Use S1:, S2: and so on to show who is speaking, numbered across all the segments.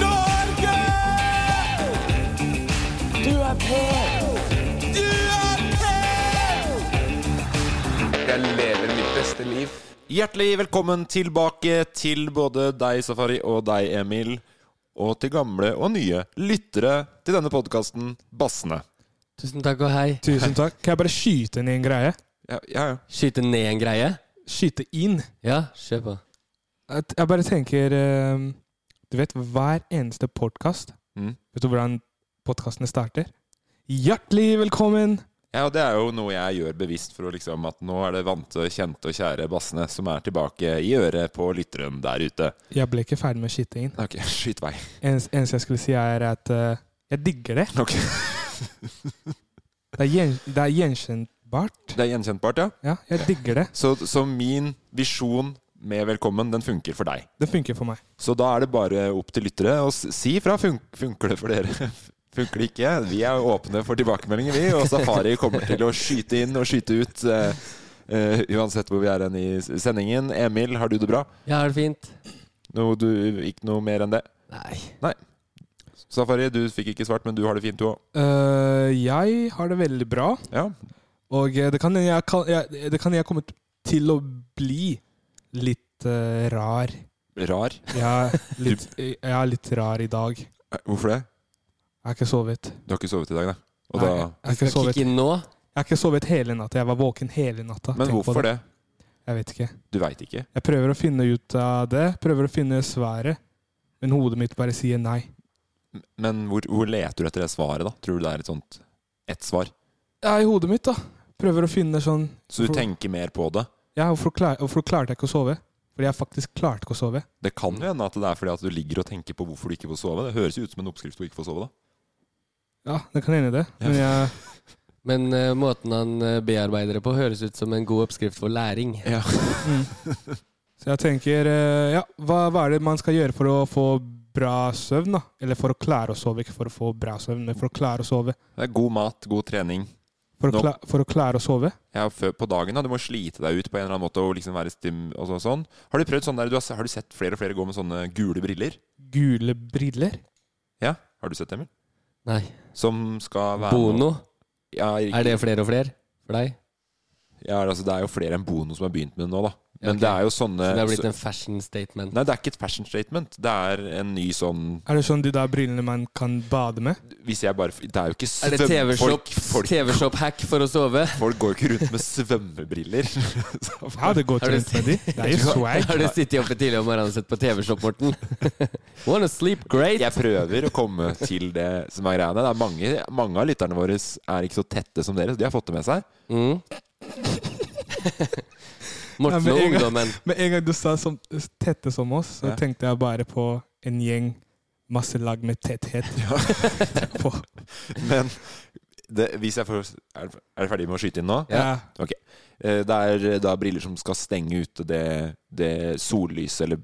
S1: Norge! Du er på! Du er på!
S2: Jeg lever mitt beste liv.
S3: Hjertelig velkommen tilbake til både deg, Safari, og deg, Emil. Og til gamle og nye lyttere til denne podkasten, Bassene.
S4: Tusen takk og hei.
S5: Tusen takk. Kan jeg bare skyte inn i en greie?
S3: Ja, ja, ja.
S4: Skyte ned en greie?
S5: Skyte inn?
S4: Ja, kjør på.
S5: At Jeg bare tenker eh, Du vet, hver eneste podkast
S3: Mm.
S5: Vet du hvordan podkastene starter? Hjertelig velkommen!
S3: ja, og det er jo noe jeg gjør bevisst for å liksom at nå er det vante, kjente og kjære Bassene som er tilbake i øret på lytteren der ute.
S5: Jeg ble ikke ferdig med å skyte inn.
S3: Ok, skyt vei.
S5: Ens- Eneste jeg skulle si, er at eh, jeg digger det.
S3: Ok.
S5: Det er, gjen, det er gjenkjennbart.
S3: Det er gjenkjentbart, ja.
S5: Ja, jeg digger det.
S3: Så, så min visjon med Velkommen, den funker for deg.
S5: Det funker for meg.
S3: Så da er det bare opp til lyttere å s- si fra. Fun funker det for dere? Funker det ikke? Vi er åpne for tilbakemeldinger, vi. Og Safari kommer til å skyte inn og skyte ut. eh, eh, uansett hvor vi er hen i s- sendingen. Emil, har du det bra?
S4: Jeg har det fint.
S3: Noe du, ikke noe mer enn det?
S4: Nei.
S3: Safari, du fikk ikke svart, men du har det fint, du òg.
S5: Eh, jeg har det veldig bra,
S3: Ja.
S5: og eh, det kan jeg, kan- jeg, det kan jeg komme til å bli litt eh, rar.
S3: Rar.
S5: Jeg er, litt, jeg er litt rar i dag. Jeg
S3: Eh, Hvorfor det?
S5: har ikke sovet.
S3: Du har ikke sovet i dag, da? Og
S5: Nei,
S3: da
S5: jeg, har ikke
S4: Skal
S5: sovet.
S4: kicke inn nå?
S5: jeg har ikke sovet hele natta. Jeg var våken hele natta.
S3: men
S5: Tenk på
S3: hvorfor det?
S5: Jeg vet ikke.
S3: Du veit ikke?
S5: Jeg prøver å finne ut av det. Prøver å finne svaret. Men hodet mitt bare sier nei.
S3: M- Men hvor, hvor leter du etter det svaret, da? Tror du det er et sånt ett svar?
S5: Ja, i hodet mitt, da. Prøver å finne sånn
S3: Så du
S5: Hvorfor-
S3: tenker mer på det?
S5: Ja, hvorfor, klar, hvorfor klarte jeg ikke å sove? Fordi jeg faktisk klarte ikke å sove.
S3: Det kan
S4: Mm.
S3: jo hende at det er fordi at du ligger og tenker på hvorfor du ikke får sove. Det høres jo ut som en oppskrift på å ikke få sove, da.
S5: Ja, det kan hende det. Men jeg,
S4: Men eh, måten han eh, bearbeider det på, høres ut som en god oppskrift for læring.
S5: så jeg tenker eh, Ja, hva, hva er det man skal gjøre for å få bra søvn, da? Eller for å klare å sove. Ikke for å få bra søvn, men for å klare å sove.
S3: Det er god mat, god trening.
S5: For
S3: Nå-
S5: å, kla for å klare å sove?
S3: Ja, før, på dagen da, Du må slite deg ut på en eller annen måte og liksom være stim og så, sånn. Har du prøvd sånn der, du har, s- har du sett flere og flere gå med sånne gule briller?
S5: Gule briller?
S3: Ja, har du sett Emil?
S4: Nei.
S3: Som skal være
S4: Bono.
S3: Ja,
S4: Er det flere og flere for deg?
S3: ja, altså, det er jo flere enn Bono som har begynt med det nå, da. Men
S4: Ja, ok.
S3: det er jo sånne
S4: Så det har blitt
S3: så-
S4: en fashion statement.
S3: Nei, det er ikke et fashion statement. Det er en ny sånn
S5: Er det sånn de der brillene man kan bade med?
S3: Hvis jeg bare Det er jo ikke
S4: Er det
S3: svøm- folk,
S4: TV-shop
S3: folk,
S4: TV-shop hack for å sove?
S3: folk går jo ikke rundt med svømmebriller. Så-
S5: Ja, det går
S4: Har
S5: til
S4: du
S5: rundt med de. Det er jo swag.
S4: Har du sittet oppe tidlig om morgenen og sett på TV-shop, Morten? Wanna sleep great?
S3: Jeg prøver å komme til det som er greiene. Det er mange, mange av lytterne våre er ikke så tette som dere, så de har fått det med seg.
S4: Mm. Morten
S5: Ja,
S4: og
S5: men en gang-
S4: ungdommen.
S5: Med en gang du sa som, tette som oss, så
S3: Ja.
S5: tenkte jeg bare på en gjeng masse lag med tetthet. På.
S3: Men det, hvis jeg får Er det- er det ferdig med å skyte inn nå?
S4: Ja.
S5: Ja.
S3: Eh, Det er da briller som skal stenge ute det, det sollyset eller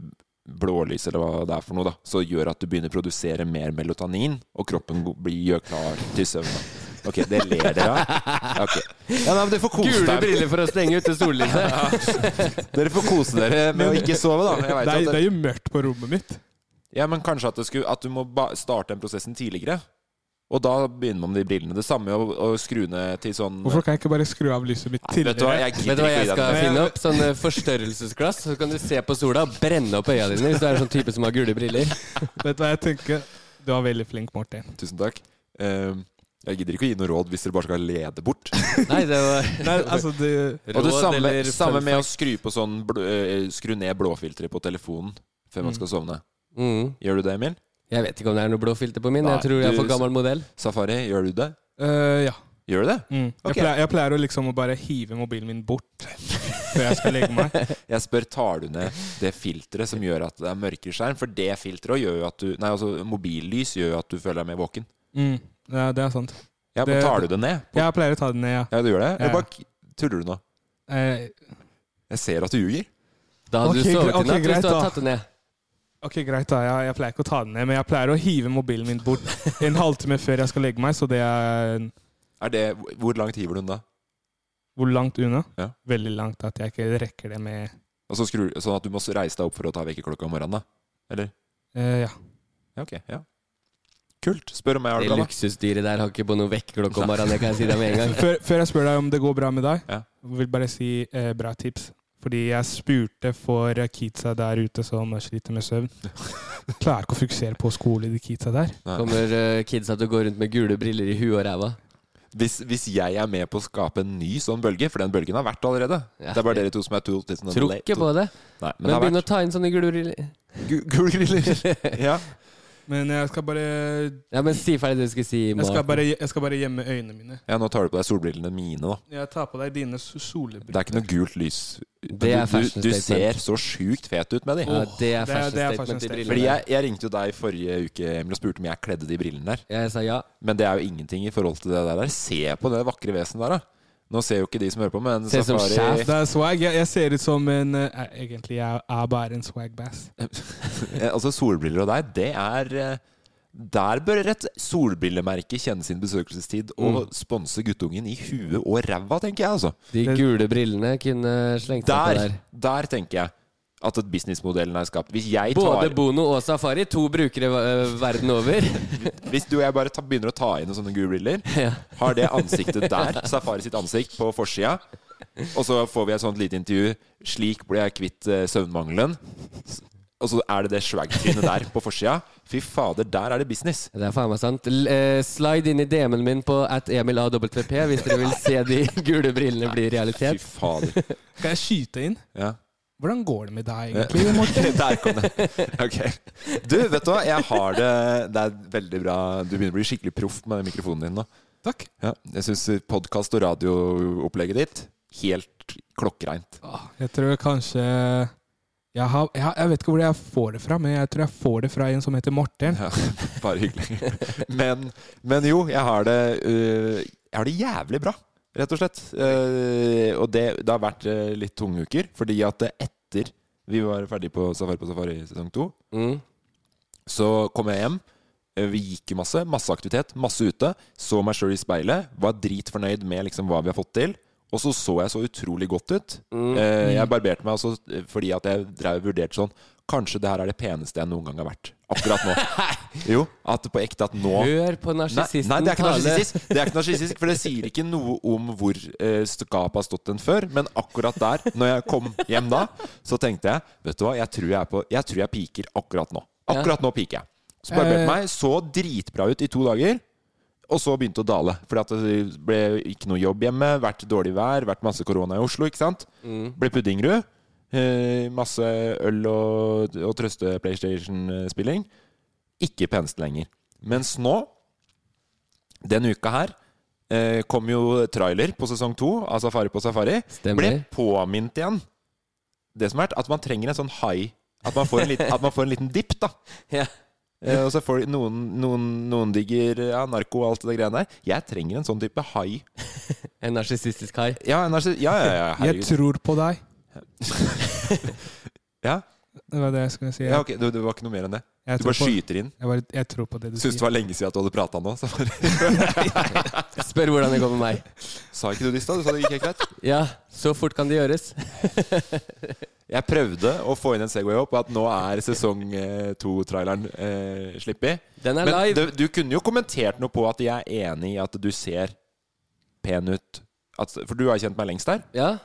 S3: blålys eller hva det er for noe, da, så gjør at du begynner å produsere mer melatonin, og kroppen go- blir, gjør klar til søvn. da. Ok, det ler dere av. Ok. Ja, nei, men dere får kose
S4: Gule
S3: dere.
S4: briller for å stenge ute sollyset.
S3: Dere får kose dere med å ikke sove, da. Jeg
S5: Det
S3: vet
S5: er,
S3: at
S5: det er jo mørkt på rommet mitt.
S3: Ja, men kanskje at, det skulle, at du må ba starte den prosessen tidligere. Og da begynner man med de brillene. Det samme å, å skru ned til sånn
S5: Hvorfor kan jeg ikke bare skru av lyset mitt
S3: Nei, Vet du hva,
S5: tidligere?
S3: jeg gidder
S4: Vet du hva
S3: ikke å
S4: jeg
S3: gi
S4: skal
S3: deg den.
S4: finne opp? Sånn eh, forstørrelsesglass. Så kan du se på sola og brenne opp øya dine hvis du er en sånn type som har gule briller.
S5: Vet du hva jeg tenker? Du var veldig flink, Martin.
S3: Tusen takk. Ehm, jeg gidder ikke å gi noe råd hvis dere bare skal lede bort.
S4: Nei, det var
S5: Nei, altså, du,
S3: Og det
S4: Råd
S3: samme,
S4: eller
S3: samme
S4: fun
S3: med å skru, på sånn, bl øh, skru ned blåfilteret på telefonen før man skal sovne.
S4: fact. mm.
S3: Gjør du det, Emil?
S4: Jeg vet ikke om det er noe blåfilter på min.
S3: Nei,
S4: Jeg tror jeg er
S3: du-
S4: for gammel modell.
S3: Safari, gjør du det?
S5: øh, ja.
S3: Gjør du det?
S5: Mm. Jeg,
S3: Ok.
S5: pleier, jeg pleier å liksom å bare hive mobilen min bort før jeg skal legge meg.
S3: Jeg spør tar du ned det filteret som gjør at det er mørkere skjerm, for det filteret gjør jo at du Nei, altså mobillys gjør jo at du føler deg mer våken.
S5: Mm. Ja, det er sant.
S3: Ja, men
S5: Det-
S3: tar du det ned? På,
S5: Jeg pleier å ta den ned, ja.
S3: Ja, du gjør det?
S5: Ja.
S3: Jeg bare k- tuller du nå?
S5: Eh,
S3: Jeg ser at du ljuger.
S4: Da hadde
S5: Ok,
S4: du sovet
S5: gre- ok,
S4: i natt hvis
S5: greit
S4: du hadde
S5: da.
S4: tatt det ned.
S5: ok, greit, da. Jeg, jeg pleier ikke å ta den ned, men jeg pleier å hive mobilen min bort en halvtime før jeg skal legge meg, så det er
S3: Er det, hvor langt hiver du den da?
S5: hvor langt unna?
S3: Ja.
S5: Veldig langt at jeg ikke rekker det med
S3: Og så skrur, sånn at du må reise deg opp for å ta vekkerklokka om morgenen, da? Eller?
S5: eh, Ja.
S3: Ja, ok. Ja. Kult. Spør om jeg har
S4: Det
S3: det bra. da.
S4: luksusdyret der har ikke på noe vekkerklokke om morgenen, det kan jeg si deg med en gang.
S5: Før, før jeg spør deg om det går bra med deg,
S3: Ja.
S5: vil bare si eh, bra tips. Fordi jeg spurte for kidsa der ute som sliter med søvn. Klarer ikke å fokusere på skole, de kidsa der.
S4: Kommer eh, kidsa til å gå rundt med gule briller i huet og ræva?
S3: Hvis, hvis jeg er med på å skape en ny sånn bølge, for den bølgen har vært allerede
S4: Ja.
S3: Det er bare dere to som er to til sånn
S4: Tror ikke på det.
S3: Nei, men,
S4: Men
S3: det har
S4: begynn
S3: vært
S4: å ta inn sånne gule briller.
S3: Gu- Gule griller. ja.
S5: Men jeg skal bare, jeg
S4: Ja, men si ferdig det du skulle si.
S5: skal
S4: Mark.
S5: bare, jeg skal bare gjemme øynene mine.
S3: ja, nå tar du på deg solbrillene mine, da.
S5: Jeg tar på deg dine s-
S3: Det er ikke
S5: solbriller.
S3: noe gult lys.
S4: Det
S3: du, du,
S4: er fashion
S3: du
S4: statement.
S3: ser så sjukt fet ut med de.
S4: Ja, det
S5: Åh,
S4: er fashion
S5: det er
S4: statement,
S5: fashion
S4: de brillene.
S3: Fordi jeg, jeg ringte jo deg forrige uke Emil, og spurte om jeg kledde de brillene der.
S4: Jeg sa ja.
S3: Men det er jo ingenting i forhold til det der. Se på det vakre vesenet der, da. Nå ser jo ikke de som hører på, men
S4: Ser ut som
S3: Safari
S4: sjef.
S5: Det er swag. Jeg, jeg ser ut som en eh, Egentlig jeg er bare en swagbass.
S3: Eh, Altså solbriller og deg, det er eh, Der bør et solbrillemerke kjenne sin besøkelsestid og
S4: Mm.
S3: sponse guttungen i huet og ræva, tenker jeg, altså.
S4: De gule brillene kunne slengt seg
S3: Der,
S4: på der.
S3: der tenker jeg at et businessmodellen er skapt. Hvis jeg
S4: Både
S3: tar
S4: Bono og Safari, to brukere eh, verden over.
S3: Hvis du og jeg bare ta, begynner å ta inn sånne gule briller,
S4: Ja.
S3: har det ansiktet der, Safari sitt ansikt, på forsida, og så får vi et sånt lite intervju 'Slik ble jeg kvitt eh, søvnmangelen'. S- Og så er det det swag-trynet der på forsida. Fy fader, der er det business.
S4: Det er faen meg sant. L eh, slide inn i DM-en min på at emilavp hvis dere vil se de gule brillene bli
S3: Fy
S4: realitet.
S3: fader.
S5: Skal jeg skyte inn?
S3: Ja.
S5: Hvordan går det med deg,
S3: Ja.
S5: egentlig? Morten?
S3: Der kom det. Ok. Du, vet du hva? Jeg har det Det er veldig bra. Du begynner å bli skikkelig proff med den mikrofonen din nå.
S5: Takk.
S3: Ja. Jeg syns podkast og radioopplegget ditt helt klokkereint.
S5: Åh, Jeg tror kanskje jeg, har, jeg, har- jeg vet ikke hvor jeg får det fra, men jeg tror jeg får det fra en som heter Morten.
S3: Ja, bare hyggelig. Men, men jo, jeg har det øh, Jeg har det jævlig bra, rett og slett. Eh, og det, det har vært eh, litt tunge uker, fordi at eh, etter vi var ferdig på Safari på Safari sesong to,
S4: Mm.
S3: Så kom jeg hjem. Eh, Vi gikk jo masse. Masse aktivitet, masse ute. Så meg sjøl i speilet. Var dritfornøyd med liksom hva vi har fått til. Og så så jeg så utrolig godt ut. Eh, Jeg barberte meg også eh, fordi at jeg drev og vurderte sånn Kanskje det her er det peneste jeg noen gang har vært. Akkurat nå. jo, at på ekte at nå
S4: Hør på
S3: Nei,
S4: narsissisten
S3: nei, det er ikke
S4: tale.
S3: narsissistisk. Det er ikke narsissistisk, For det sier ikke noe om hvor eh, skapet har stått den før. Men akkurat der, når jeg kom hjem da, så tenkte jeg Vet du hva, jeg tror jeg, er på, jeg, tror jeg piker akkurat nå. Akkurat nå piker jeg. Så barberte meg, så dritbra ut i to dager. Og så begynte å dale. Fordi at det ble ikke noe jobb hjemme, vært dårlig vær, vært masse korona i Oslo, ikke sant. Ble Puddingrud. Eh, masse øl og, og trøste PlayStation-spilling. Ikke peneste lenger. Mens nå, den uka her, eh, kom jo trailer på sesong to av Safari på Safari.
S4: Stemmer.
S3: Ble påminnet igjen det som er at man trenger en sånn high. At man får en liten, at man får en liten dipp, da.
S4: Ja.
S3: Eh, Og så får de- noen, noen, noen digger ja, narko og alt det greiene der. Jeg trenger en sånn type high. altså,
S4: En narsissistisk hai.
S3: Ja, en narsi- ja, ja, ja,
S5: Jeg
S3: herregud.
S5: tror på deg.
S3: Ja.
S5: Det var det jeg skulle si.
S3: Ja, ok, det, det var ikke noe mer enn det.
S5: jeg,
S3: Du
S5: tror
S3: bare
S5: på,
S3: skyter inn.
S5: jeg, bare, jeg tror på det du
S3: Syns det
S5: sier.
S3: var lenge siden at du hadde prata nå. Så bare,
S4: Spør hvordan det går med meg.
S3: sa ikke du det i stad? Du sa det gikk helt greit.
S4: Ja, så fort kan det gjøres.
S3: Jeg prøvde å få inn en Segway opp, at nå er sesong eh, to-traileren eh, slippet.
S4: Den er
S3: Men
S4: live.
S3: du, du kunne jo kommentert noe på at jeg er enig i at du ser pen ut. At, for du har kjent meg lengst der.
S4: Ja.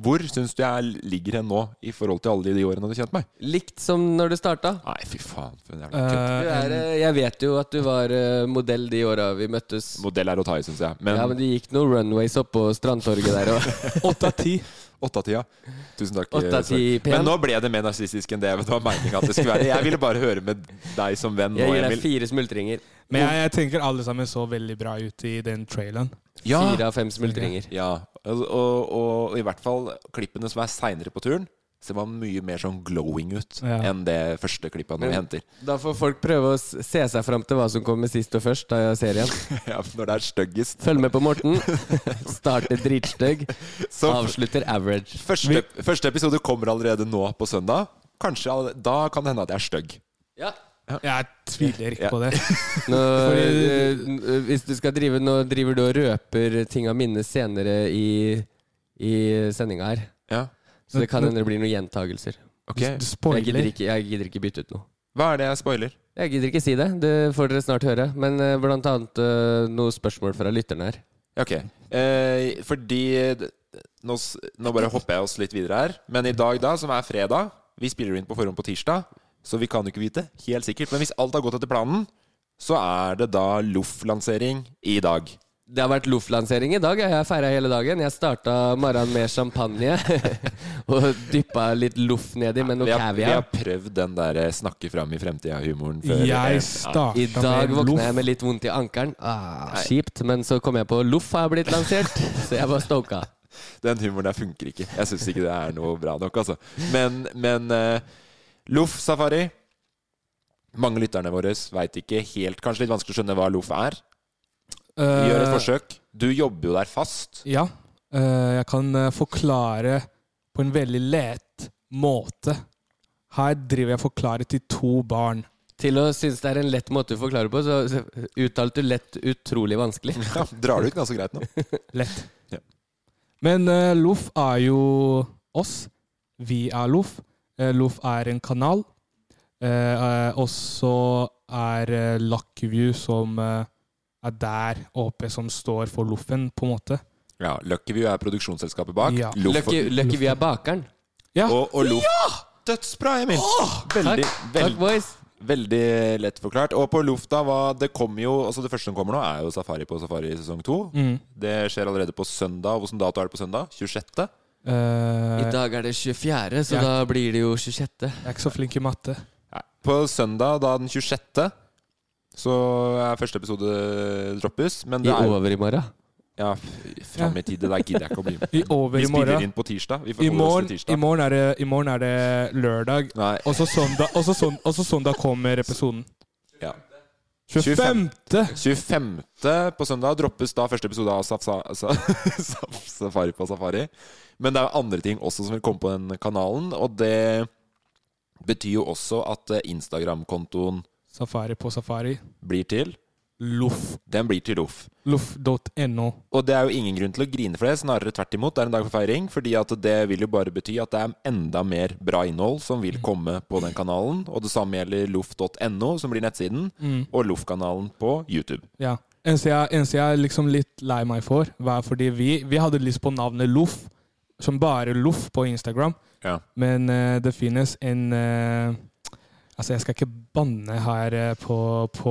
S3: Hvor syns du jeg ligger hen nå i forhold til alle de årene du har kjent meg?
S4: Likt som når du starta.
S3: Nei, fy faen, for en jævla kødd.
S4: Du er,
S5: Eh, en-
S4: eh, jeg vet jo at du var eh, modell de åra vi møttes.
S3: Modell er å ta i, syns jeg. Men
S4: Ja, men det gikk noen runways opp på Strandtorget der og
S5: Åtte av ti.
S3: åtte av tida. Tusen takk.
S4: Åtte av
S3: Sverre.
S4: ti pen.
S3: Men nå ble det mer narsissistisk enn det det var meninga at det skulle være. Jeg ville bare høre med deg som venn.
S4: Jeg
S3: nå,
S4: gir deg
S3: Emil.
S4: fire smultringer.
S5: Men jeg, jeg tenker alle sammen så veldig bra ut i den traileren.
S3: Ja.
S4: Fire av fem smultringer.
S3: Ja, og, og, og i hvert fall klippene som er seinere på turen, ser man mye mer sånn glowing ut
S5: Ja.
S3: enn det første klippet han nå
S4: Men-
S3: henter.
S4: Da får folk prøve å s- se seg fram til hva som kommer sist og først av serien.
S3: ja, når det er styggest.
S4: Følg med på Morten. Starter dritstygg,
S3: Så
S4: avslutter average.
S3: første, første episode kommer allerede nå på søndag. Kanskje alle- Da kan det hende at jeg er stygg.
S4: Ja.
S5: Jeg tviler ikke
S3: Ja.
S5: på det.
S4: Nå,
S5: Fordi-
S4: eh, hvis du skal drive Nå driver du og røper ting av minne senere i, i sendinga her.
S3: Ja.
S4: Så det kan hende det blir noen gjentagelser.
S3: Ok.
S5: Du
S4: Jeg gidder,
S5: spoiler.
S4: ikke, jeg gidder ikke bytte ut noe.
S3: Hva er det jeg spoiler?
S4: Jeg gidder ikke si det. Det får dere snart høre. Men eh, blant annet eh, noen spørsmål fra lytterne her.
S3: Ja, Ok. Eh, fordi d- nå, s- nå bare hopper jeg oss litt videre her. Men i dag, da, som er fredag Vi spiller inn på forhånd på tirsdag, så vi kan jo ikke vite helt sikkert. Men hvis alt har gått etter planen, så er det da Loff-lansering i dag.
S4: Det har vært loff-lansering i dag. Jeg har feira hele dagen. Jeg starta morgenen med champagne og dyppa litt loff nedi
S3: vi,
S4: med noe
S3: har, vi har
S4: caviar.
S3: prøvd den der eh, snakke fram i fremtida-humoren før. eh,
S5: Jeg
S3: Ja.
S5: starta
S4: I dag
S5: med
S4: våkna
S5: loff.
S4: jeg med litt vondt i ankelen. Ah, kjipt. Men så kom jeg på loff har blitt lansert, så jeg var stoka.
S3: Den humoren der funker ikke. Jeg syns ikke det er noe bra nok, altså. Men, men eh, Loff Safari Mange lytterne våre veit ikke helt Kanskje litt vanskelig å skjønne hva Loff er. Vi gjør et
S5: Eh,
S3: forsøk. Du jobber jo der fast.
S5: Ja. eh, jeg kan eh, forklare på en veldig lett måte. Her driver jeg og forklarer til to barn.
S4: Til å synes det er en lett måte å forklare på, så så uttalte du lett utrolig vanskelig.
S3: Ja, drar det ut ganske greit nå.
S5: Lett.
S3: Ja.
S5: Men eh, Loff er jo oss. Vi er Loff. Eh, Loff er en kanal. Eh, eh, og så er eh, Luckview som eh, er der oppe, som står for Loffen, på en måte.
S3: Ja, Luckyview er produksjonsselskapet bak.
S5: Ja.
S3: Loff-
S4: Lucky, lucky vi er bakeren.
S5: Ja,
S3: Og, og Loff Dødsbra, Emil!
S4: Takk,
S3: Veldig,
S4: takk
S3: veldig,
S4: boys.
S3: veldig lett forklart. Og på Loff, da, hva Det kommer jo Altså det første som kommer nå, er jo Safari på Safari sesong to.
S5: Mm.
S3: Det skjer allerede på søndag. Hvilken dato er det på søndag? 26.?
S5: eh,
S4: I dag er det 24, så
S5: Ja.
S4: da blir det jo 26.
S5: jeg er ikke så flink i matte.
S3: Nei. På søndag, da den 26., så er første episode droppes. Men
S4: I
S3: det er
S4: over i morgen.
S3: ja, fram i tid. Det der gidder jeg ikke å bli med
S5: I over
S3: Vi
S5: i
S3: spiller
S5: morgen.
S3: inn på tirsdag. Vi
S5: I
S3: forholder oss
S5: morgen,
S3: til
S5: i
S3: tirsdag.
S5: morgen, er, det, I morgen er det lørdag,
S3: Nei,
S5: og så søndag, og så søn- og så søndag kommer episoden.
S3: ja.
S5: 25.
S3: 25. på søndag droppes da første episode av Saf Sa- Sa- Saf Safari på Safari. Men det er jo andre ting også som vil komme på den kanalen, og det betyr jo også at eh, Instagram-kontoen
S5: Safari på safari.
S3: blir til.
S5: Loff.
S3: Den blir til Loff.
S5: Loff.no.
S3: Og det er jo ingen grunn til å grine for det, snarere tvert imot. Det er en dag for feiring, fordi at det vil jo bare bety at det er enda mer bra innhold som vil komme på den kanalen. Og det samme gjelder loff.no, som blir nettsiden, og Loff-kanalen på YouTube.
S5: Mm, Ja. Eneste jeg, eneste jeg er liksom litt lei meg for, var fordi vi, vi hadde lyst på navnet Loff, som bare Loff på Instagram,
S3: Ja.
S5: men eh, det finnes en eh, Altså, jeg skal ikke banne her eh, på, på,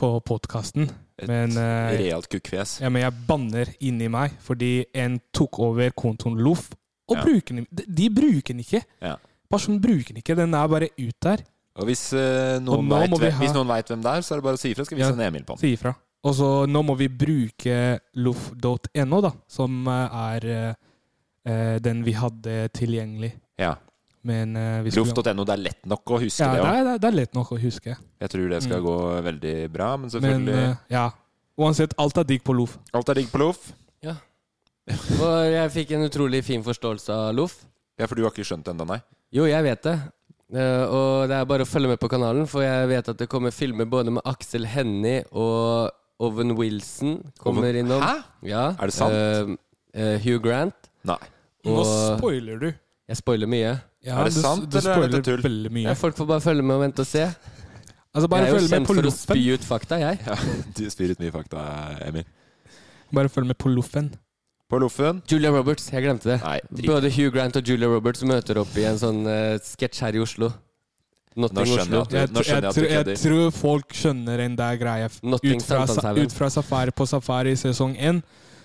S5: på podkasten,
S3: Et
S5: men eh,
S3: Realt kukkfjes.
S5: Ja, men jeg banner inni meg fordi en tok over kontoen Loff. Og
S3: Ja.
S5: bruker den de, de bruker den ikke.
S3: Ja.
S5: Personen bruker den ikke. Den er bare ut der.
S3: Og hvis, eh, noen
S5: Og nå
S3: vet,
S5: må vi
S3: hvem-
S5: ha-
S3: hvis noen vet hvem det er, så er det bare å si ifra. Skal vi
S5: Ja.
S3: sende Emil på den.
S5: Si ifra. Og så nå må vi bruke loff.no, da, som eh, er eh, den vi hadde tilgjengelig.
S3: Ja.
S5: Men eh, vi skulle-
S3: Loff.no, det er lett nok å huske
S5: ja,
S3: det
S5: det,
S3: òg.
S5: er, det er lett nok å huske.
S3: Jeg tror det skal gå veldig bra, men
S5: Men
S3: selvfølgelig
S5: eh, ja. Uansett, alt er digg på Loff.
S3: Alt er digg på Loff.
S4: Ja. Og jeg fikk en utrolig fin forståelse av loff.
S3: Ja, for du har ikke skjønt det ennå, nei?
S4: Jo, jeg vet det. Eh, og det er bare å følge med på kanalen, for jeg vet at det kommer filmer både med Aksel Hennie og Owen Wilson kommer
S3: Owen-
S4: innom.
S3: Hæ?
S4: Ja.
S3: Er det sant?
S4: Eh, eh, Hugh Grant.
S3: Nei.
S5: Nå
S4: Og
S5: spoiler du.
S4: jeg spoiler mye.
S5: Ja,
S3: Er det
S5: du,
S3: sant,
S5: du
S3: eller er
S5: spoiler
S3: dette tull?
S5: veldig mye.
S4: Ja, folk får bare følge med og vente og se.
S5: Altså,
S4: jeg
S5: bare
S4: er jo
S5: følg med
S4: kjent
S5: på
S4: for å
S5: loffen.
S4: spy ut fakta, jeg.
S3: Ja, du spyr ut mye fakta, Emil.
S5: Bare følg med på loffen.
S3: På loffen?
S4: Julia Roberts, jeg glemte det.
S3: Nei, drit.
S4: Både Hugh Grant og Julia Roberts møter opp i en sånn eh, sketsj her i Oslo. Notting
S3: Nå skjønner
S4: Oslo.
S3: jeg at
S5: Jeg,
S3: Nå
S5: tr- jeg,
S3: skjønner jeg at du
S5: tror- jeg
S3: kødder.
S5: tror folk skjønner den der greia.
S4: Notting
S5: Ut fra, sa-
S4: Sankthanshaugen.
S5: ut fra Safari på Safari sesong én,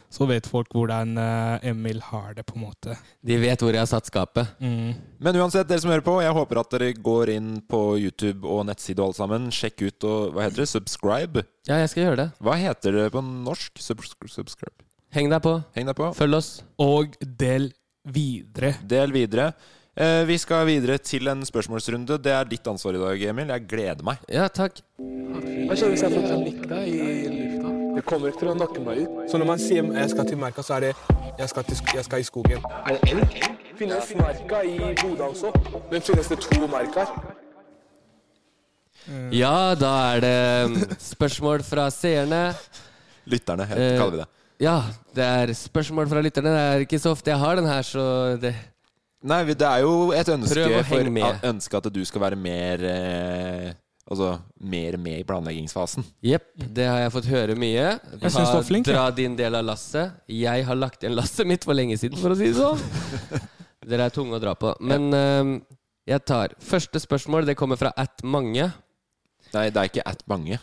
S5: så vet folk hvordan eh, Emil har det, på en måte.
S4: De vet hvor jeg har satt skapet.
S5: Mm.
S3: Men uansett, dere som hører på, jeg håper at dere går inn på YouTube og nettside og alt sammen. Sjekk ut og Hva heter det? Subscribe?
S4: Ja, jeg skal gjøre det.
S3: Hva heter det på norsk? Subs subscribe.
S4: Heng deg på.
S3: Heng deg på.
S4: Følg oss.
S5: Og del videre.
S3: Del videre. Eh, vi skal videre til en spørsmålsrunde. Det er ditt ansvar i dag, Emil. Jeg gleder meg.
S4: Ja, takk.
S1: Hva skjer hvis jeg får panikk da i lufta? Det kommer ikke til å nakke meg ut. Så når man sier jeg skal til merka, så er det jeg skal, i skogen. Er det elg? Finnes merka i Bodø også? Men finnes det to merker?
S4: Ja, da er det mm, spørsmål fra seerne.
S3: Lytterne, helt,
S4: Eh,
S3: kaller vi det.
S4: Ja, det er spørsmål fra lytterne. Det er ikke så ofte jeg har den her, så det
S3: Nei, vi- det er jo et
S4: Prøv
S3: ønske
S4: å henge med.
S3: at- ønske at du skal være mer eh, Altså mer med i planleggingsfasen.
S4: Jepp, det har jeg fått høre mye.
S5: Jeg synes du var flink, jeg.
S4: Dra din del av lasset. Jeg har lagt igjen lasset mitt for lenge siden, for å si det sånn. Dere er tunge å dra på. Men øhm, jeg tar første spørsmål. Det kommer fra at mange.
S3: Nei, det er ikke at mange.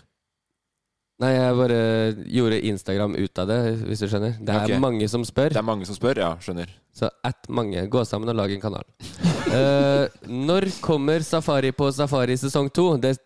S4: Nei, jeg bare gjorde Instagram ut av det, hvis du skjønner. Det er
S3: Ok.
S4: mange som spør.
S3: Det er mange som spør. Ja, skjønner.
S4: Så at mange. Gå sammen og lag en kanal. Eh, når kommer Safari på Safari sesong to? Det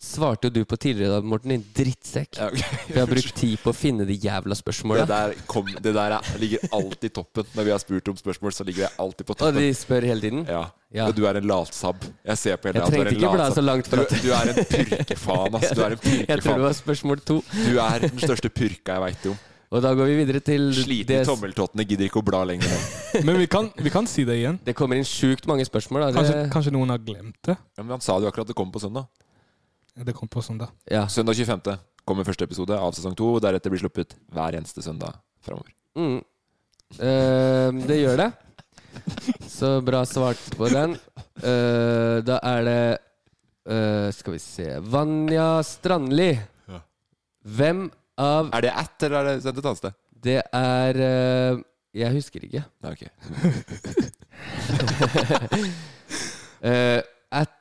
S4: svarte jo du på tidligere, da, Morten, din drittsekk.
S3: Ja, ok.
S4: Vi har brukt tid på å finne de jævla spørsmåla.
S3: Det der, kom, det der er, ligger alltid toppen. Når vi har spurt om spørsmål, så ligger jeg alltid på
S4: Og de
S3: toppen.
S4: spør hele tiden.
S3: Ja.
S4: Ja.
S3: Og Du er en latsabb. Jeg ser på hele
S4: Jeg
S3: at du er
S4: trengte
S3: en
S4: ikke bla
S3: latsabb.
S4: så langt for
S3: Du,
S4: at-
S3: du er en purkefaen, ass. Du er en
S4: Jeg tror det
S3: purkefaen.
S4: var spørsmål to.
S3: Du er den største purka jeg veit om.
S4: Og da går vi videre til
S3: Slitne
S4: det,
S3: tommeltottene gidder ikke å bla lenger.
S5: Men vi kan, vi kan si det igjen.
S4: det kommer inn sjukt mange spørsmål. Da.
S5: Kanskje,
S4: Det,
S5: kanskje noen har glemt det.
S3: Ja, men han sa det jo akkurat det kom på søndag.
S5: Det kom på søndag.
S4: ja.
S3: Søndag 25. kommer første episode av sesong to. og Deretter blir sluppet hver eneste søndag framover.
S4: mm. Eh, det gjør det. Så bra svart på den. Eh, da er det eh, Skal vi se Vanja Strandli.
S3: Ja.
S4: Hvem av
S3: Er det at, eller er det sendt et annet sted?
S4: Det er eh, Jeg husker ikke.
S3: Nei, ok.
S4: Eh, at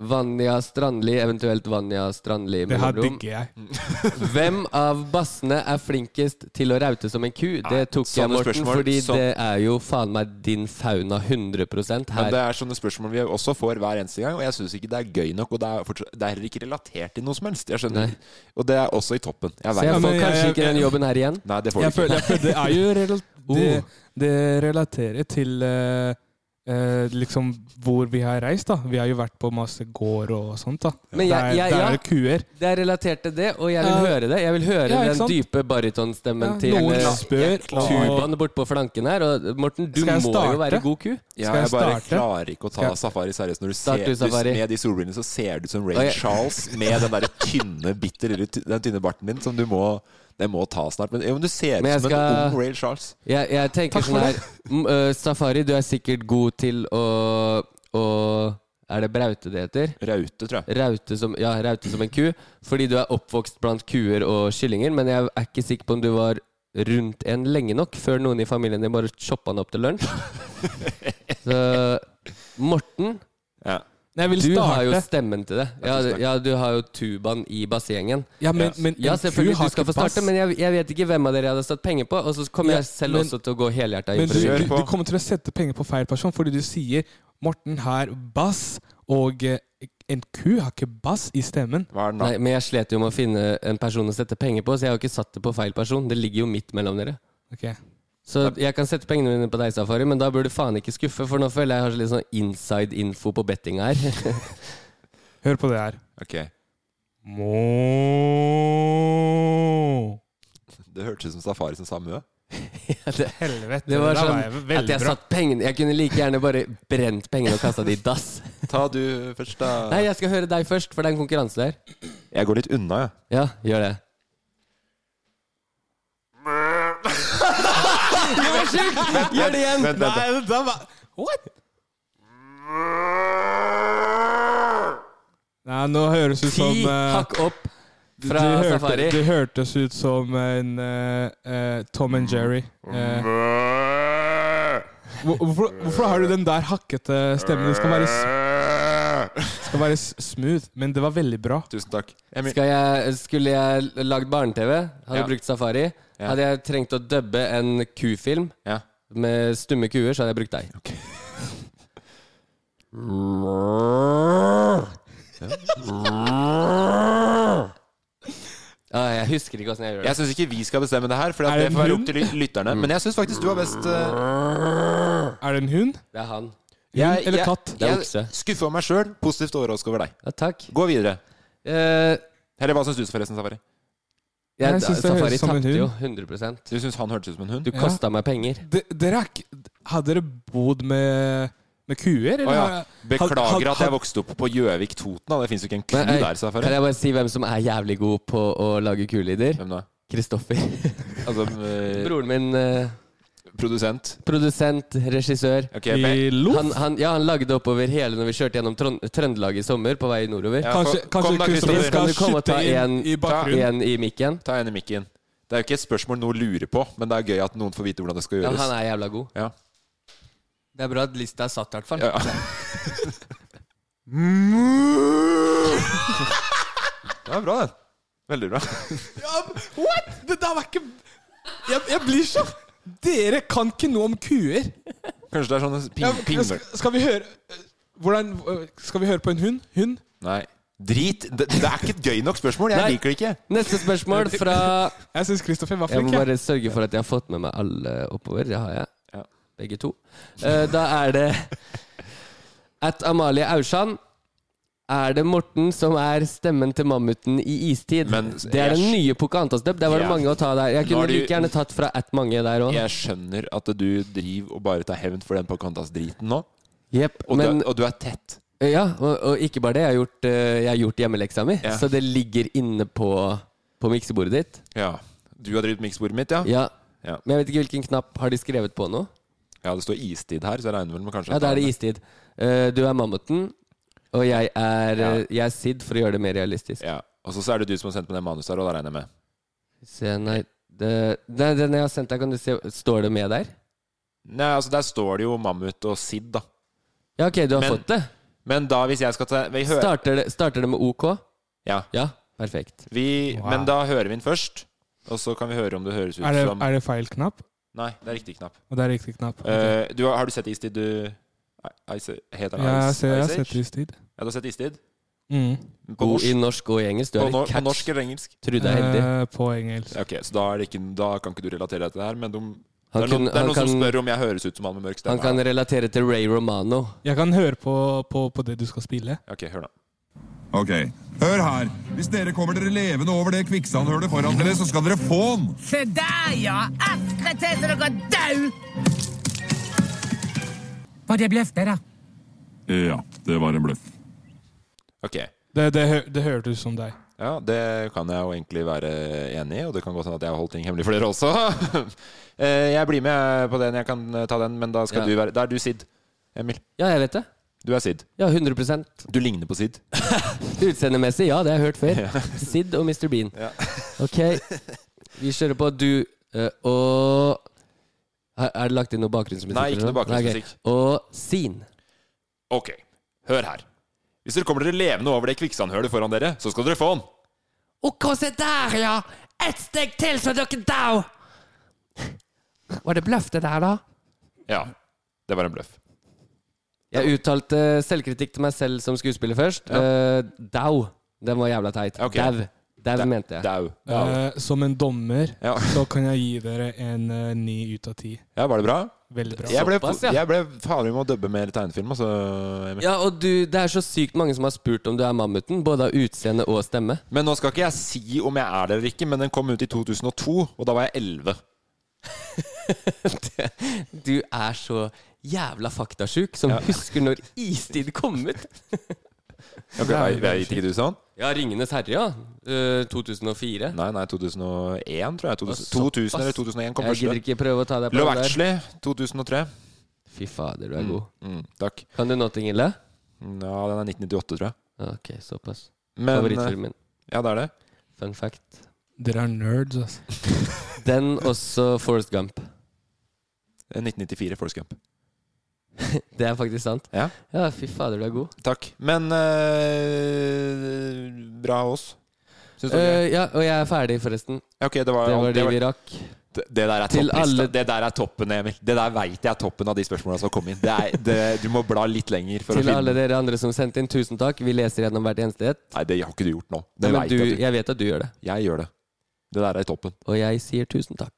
S4: Vanja Strandli, eventuelt Vanja Strandli
S5: Det her
S4: mellomrom.
S5: digger jeg.
S4: Hvem av bassene er flinkest til å raute som en ku? Det tok jeg,
S3: sånne
S4: Morten,
S3: spørsmål,
S4: fordi
S3: sånn-
S4: det er jo faen meg din fauna 100
S3: Men
S4: her.
S3: det er sånne spørsmål vi også får hver eneste gang, og jeg syns ikke det er gøy nok. Og det er, fortsatt, det er heller ikke relatert til noe som helst. Jeg skjønner.
S4: Nei.
S3: Og det er også i toppen. Jeg
S4: Så
S3: vet.
S4: jeg
S5: men
S4: får
S5: jeg-
S4: kanskje ikke
S5: jeg-
S4: den jobben her igjen.
S3: Nei, det får
S5: jeg
S3: du ikke.
S5: føler, jeg føler, det er jo rela-
S4: Oh.
S5: det, det relaterer til eh, eh, liksom hvor vi har reist, da. Vi har jo vært på masse gård og sånt, da.
S4: Men jeg-
S5: der,
S4: jeg-
S5: der
S4: ja.
S5: er det kuer.
S4: Det er relatert til det, og jeg vil
S5: Ja.
S4: høre det. Jeg vil høre
S5: Ja, ikke
S4: den
S5: sant?
S4: dype barytonstemmen
S5: Ja,
S4: til
S5: noen
S4: eh,
S5: spør, og
S4: tubaen bortpå flanken her. Og eh, Morten, du
S5: Skal jeg
S4: må jo
S5: starte?
S4: være god ku.
S3: Ja,
S5: Skal jeg
S3: jeg bare
S5: starte?
S3: klarer ikke å ta
S5: Skal jeg-
S3: safari seriøst. Når du
S4: Start
S3: ser,
S4: du,
S3: du,
S4: Safari.
S3: med de solbrillene så ser du ut som Ray
S4: Og jeg-
S3: Charles med den der tynne, bitte lille ty- den tynne barten din som du må Den må ta snart. Men, jo, men du ser ut
S4: Men jeg
S3: som
S4: skal-
S3: en ung Ray Charles.
S4: Jeg, jeg tenker sånn her m, eh, Safari, du er sikkert god til å, å Er det braute det heter?
S3: Raute, tror jeg.
S4: Raute som, ja, raute som en ku. Fordi du er oppvokst blant kuer og kyllinger, men jeg er ikke sikker på om du var rundt en lenge nok før noen i familien din bare choppa den opp til lunsj. Så Morten,
S3: Ja.
S5: Jeg vil
S4: du har jo
S5: starte.
S4: stemmen til det. Ja, du- ja, du har jo tubaen i bassengen.
S5: Ja, men, men
S4: Ja,
S5: en ku
S4: selvfølgelig,
S5: har
S4: du skal
S5: ikke
S4: få starte,
S5: bass.
S4: men jeg, jeg vet ikke hvem av dere jeg hadde satt penger på. Og så kommer
S5: Ja,
S4: jeg selv
S5: men-
S4: også til å gå helhjerta inn
S5: Men
S4: for
S5: du,
S4: det.
S3: Kjør
S5: du,
S3: på.
S5: du kommer til å sette penger på feil person, fordi du sier Morten har bass, og eh, en ku har ikke bass i stemmen.
S3: Hva er den da?
S4: Nei, men jeg slet jo med å finne en person å sette penger på, så jeg har jo ikke satt det på feil person. Det ligger jo midt mellom dere.
S5: Ok.
S4: Så jeg kan sette pengene mine på deg, Safari, men da burde du faen ikke skuffe, for nå føler jeg jeg har litt sånn inside info på betting her.
S5: Hør på det her.
S3: Ok.
S5: Må.
S3: Det hørtes ut som Safari som sa mø.
S4: det,
S5: Helvete.
S4: det var
S5: der
S4: sånn
S5: jeg veldig
S4: at jeg
S5: bra.
S4: satt pengene Jeg kunne like gjerne bare brent pengene og kasta de i dass.
S3: Ta du først, da.
S4: Nei, jeg skal høre deg først, for det er en konkurranse der.
S3: Jeg går litt unna, jeg.
S4: Ja, gjør det. Det var sjukt! Gjør det igjen!
S3: Vent, vent,
S5: Nei, da var What? Nei, nå høres ut
S4: Ti
S5: som eh,
S4: hakk opp fra
S5: det hørte-
S4: Safari.
S5: Det hørtes ut som en eh, eh, Tom and Jerry. eh. Hvor- hvorfor, hvorfor har du den der hakkete stemmen? Den skal være, s- skal være s- smooth, men det var veldig bra.
S3: Tusen takk. Emil.
S4: Skal jeg, skulle jeg lagd barne-TV, hadde
S3: Ja.
S4: brukt Safari,
S3: Ja.
S4: hadde jeg trengt å dubbe en kufilm
S3: Ja.
S4: med stumme kuer, så hadde jeg brukt deg. Ah, jeg husker ikke åssen jeg gjør det.
S3: Jeg syns ikke vi skal bestemme det her, for
S5: Er det
S3: det
S5: en
S3: får være
S5: hund?
S3: opp til ly- lytterne. Men jeg syns faktisk du var best. eh,
S5: Er det en hund?
S4: Det er han.
S5: Hund
S3: jeg,
S5: eller
S3: jeg-
S5: katt?
S4: Det er
S3: Jeg
S4: okse.
S3: skuffa meg sjøl. Positivt overrasket over deg.
S4: Ja, takk.
S3: Gå videre.
S4: Eh,
S3: Eller hva syns du, forresten, Safari?
S4: jeg,
S5: Jeg synes det høres
S4: Safari
S5: som en
S4: tapte
S5: hund.
S4: jo 100
S3: Du syns han hørtes ut som en hund?
S4: Du kosta meg penger.
S5: De, dere er ikke Hadde dere bodd med, med kuer?
S3: Å ja. Beklager
S5: Had- had-
S3: at jeg
S5: had-
S3: vokste opp på Gjøvik, Toten. da. Det fins jo ikke en ku
S4: Men, eh,
S3: der,
S4: Kan
S3: Safari.
S4: jeg bare si hvem som er jævlig god på å lage kulyder?
S3: Hvem da?
S4: Kristoffer.
S3: Altså, eh,
S4: Broren min. eh,
S3: produsent.
S4: produsent, regissør.
S3: Ok, men-
S5: I Loff?
S4: Han, han, ja, han lagde oppover hele når vi kjørte gjennom Trond Trøndelag i sommer på vei nordover.
S3: Ja,
S5: Kanskje,
S3: kom-
S5: kanskje
S3: kom da,
S5: Kristoffer
S3: Kristoffer.
S4: Kan du
S5: skal
S4: komme og ta
S5: skyte inn
S4: en-
S5: i bakgrunnen?
S4: En i mikken.
S3: Ta en i mikken. Det er jo ikke et spørsmål noen lurer på, men det er gøy at noen får vite hvordan det skal
S4: Ja, han
S3: gjøres.
S4: er jævla god.
S3: Ja.
S4: Det er bra at lista er satt, i hvert fall.
S3: Ja. Det var bra, den. Veldig bra.
S5: What?! Det der var ikke jeg, jeg blir så Dere kan ikke noe om kuer!
S3: Kanskje det er sånne
S5: Ja,
S3: ping,
S5: men skal,
S3: pingvøl...
S5: skal vi høre eh, Hvordan eh, Skal vi høre på en hund? Hund?
S3: Nei. Drit! Det, det er ikke et gøy nok spørsmål. Jeg
S4: Nei.
S3: liker det ikke.
S4: Neste spørsmål fra
S5: Jeg syns Kristoffer var
S4: Jeg må
S5: flink. jeg.
S4: bare sørge for at jeg har fått med meg alle oppover. Det har jeg.
S3: Ja.
S4: Begge to. Eh, Da er det At Amalie Aursand er det Morten som er stemmen til mammuten i istid?
S3: Men-
S4: det er den
S3: jeg-
S4: nye Pocahontas-dubb. Der var det
S3: Ja.
S4: mange å ta der. Jeg
S3: Nå
S4: kunne
S3: er det jo-
S4: like gjerne tatt fra at mange der òg.
S3: Jeg skjønner at du driver og bare tar hevn for den Pocahontas-driten nå,
S4: Yep,
S3: og,
S4: men
S3: du, er- og du er tett.
S4: Ja, og, og ikke bare det. Jeg har gjort, eh, jeg har gjort hjemmeleksa mi,
S3: Ja.
S4: så det ligger inne på, på miksebordet ditt.
S3: Ja. Du har drevet miksbordet mitt, ja?
S4: Ja.
S3: Ja.
S4: Men jeg vet ikke hvilken knapp har de skrevet på nå.
S3: Ja, det står istid her, så jeg regner vel med kanskje
S4: Ja,
S3: at
S4: Da er det
S3: han-
S4: istid. Eh, du er mammuten, og jeg er, eh, jeg er Sid, for å gjøre det mer realistisk.
S3: Ja. Og så så er det du som har sendt meg det manuset her, og da regner jeg med.
S4: Se, nei, det, det, den jeg har sendt deg, kan du se Står det med der?
S3: Nei, altså der står det jo Mammut og Sid, da.
S4: Ja, OK, du har
S3: Men-
S4: fått det.
S3: Men da, hvis jeg skal ta Vi hører
S4: Starter det, starter det med OK?
S3: Ja.
S4: Ja, perfekt.
S3: Vi,
S5: Wow.
S3: Men da hører vi den først, og så kan vi høre om det høres ut
S5: Er det,
S3: som
S5: er det feil knapp?
S3: Nei, det er riktig knapp.
S5: Og det er riktig knapp.
S3: Eh, du, har har du sett Istid, du I- Ice, Heter
S5: Ja,
S3: den
S5: jeg
S3: Ice,
S5: ser jeg har
S3: Ice Age?
S5: sett istid.
S3: Ja, du har sett Istid?
S5: Mm.
S3: På
S4: God i
S3: norsk,
S4: norsk og i engelsk. Du
S3: på,
S4: er
S3: no,
S4: en
S3: på
S4: catch.
S3: norsk eller engelsk?
S4: Trude er heldig.
S5: Eh, på engelsk.
S3: Ok, så da, er det ikke, da kan ikke du relatere deg til det her, men de, det
S4: Han
S3: er
S4: kan-
S3: noen, det er
S4: han
S3: noen som
S4: kan-
S3: spør om jeg høres ut som han med mørk
S4: Han
S3: stemme.
S4: kan relatere til Ray Romano.
S5: Jeg kan høre på, på, på det du skal spille.
S3: Ok, hør da.
S6: Ok, hør her. Hvis dere kommer dere levende over det kvikksandhølet foran dere, så skal dere få den.
S7: Se der, ja! Akkurat til dere dau! Var det bløff, det, da?
S6: Ja, det var en bløff.
S3: Ok.
S5: Det, det, hø- det hørtes ut som deg.
S3: Ja, det kan jeg jo egentlig være enig i, og det kan godt hende at jeg har holdt ting hemmelig for dere også. Eh, jeg blir med på den, jeg kan eh, ta den, men da skal
S4: Ja.
S3: du være Da er du Sid, Emil.
S4: Ja, jeg vet det.
S3: Du er Sid.
S4: Ja, 100
S3: Du ligner på Sid.
S4: Utseendemessig, ja, det har jeg hørt før. Sid og Mr. Bean. Ok, vi kjører på. Du eh, og Er er det lagt inn noe bakgrunnsmusikk?
S3: Nei, ikke
S4: eller
S3: noe
S4: Nei, ok.
S3: bakgrunnsmusikk.
S4: Og Sin.
S3: Ok, hør her. Hvis dere kommer dere levende over det kvikksandhølet foran dere, så skal dere få den.
S4: OK, se der, ja! Ett steg til, så dere dau! Var det bløff, det der, da?
S3: Ja, det var en bløff.
S4: Jeg uttalte selvkritikk til meg selv som skuespiller først. Eh, dau. Den var jævla teit.
S3: Ok.
S4: Dau. Dau, mente jeg.
S3: Dau.
S5: Eh, som en dommer
S3: Ja.
S5: så kan jeg gi dere en eh, ni ut av ti.
S3: Ja, var det bra?
S5: Veldig bra.
S3: Jeg ble,
S4: Såpass, ja.
S3: jeg ble faen vi må dubbe mer tegnefilm, altså. Emil.
S4: Ja, og du, Det er så sykt mange som har spurt om du er mammuten, både av utseende og stemme.
S3: Men nå skal ikke jeg si om jeg er det eller ikke, men den kom ut i 2002, og da var jeg 11.
S4: det, du er så jævla faktasjuk som husker når istid kom ut.
S3: Ok, vei- Veit ikke du sånn?
S4: Ja, 'Ringenes herre', ja. Eh, 2004.
S3: Nei, nei, 2001, tror jeg. 2000,
S4: Såpass.
S3: 2000 eller 2001 kom
S4: Jeg gidder ikke prøve å ta deg på
S3: Love
S4: det der.
S3: Actually, 2003.
S4: Fy fader, du er
S3: Mm,
S4: god.
S3: mm, takk.
S4: Kan du Notting Hill? da?
S3: Ja, den er 1998, tror jeg.
S4: Ok, såpass.
S3: Men, eh,
S4: Favorittfilmen.
S3: Ja, det er det.
S4: Fun fact.
S5: Dere er nerds, altså.
S4: Den også Forrest Gump.
S3: Det er 1994, Forrest Gump.
S4: Det er faktisk sant.
S3: Ja.
S4: fy fader, du er god.
S3: Takk. Men eh, bra av oss. Syns dere?
S4: Eh, ja, og jeg er ferdig, forresten.
S3: Ok, det var,
S4: det var det vi rakk.
S3: Det, det der er
S4: Til
S3: topplista.
S4: alle-
S3: Det der er toppen, Emil. Det der veit jeg er toppen av de spørsmåla som har kommet inn. Det er, det, du må bla litt lenger for å
S4: Til
S3: finne
S4: alle dere andre som sendte inn, tusen takk. Vi leser gjennom hvert eneste et.
S3: Nei, det har ikke du gjort nå. Det
S4: Men
S3: vet
S4: du,
S3: jeg at du
S4: jeg vet at du gjør det.
S3: Jeg gjør det. Det der er i toppen.
S4: Og jeg sier tusen takk.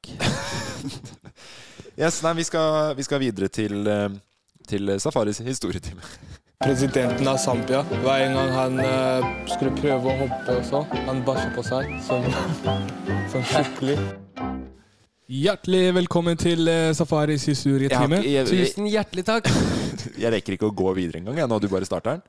S3: Yes, nei, vi skal, vi skal videre til, eh, til Safaris historietime.
S1: Presidenten av Zambia, hver en gang han eh, skulle prøve å hoppe og så, han bæsja på seg som, som skikkelig.
S5: Hjertelig velkommen til eh, Safaris
S3: Jeg har
S5: historietime.
S3: ikke- jeg- jeg-
S4: Tusen hjertelig takk.
S3: Jeg rekker ikke å gå videre engang, jeg, nå du bare starter den.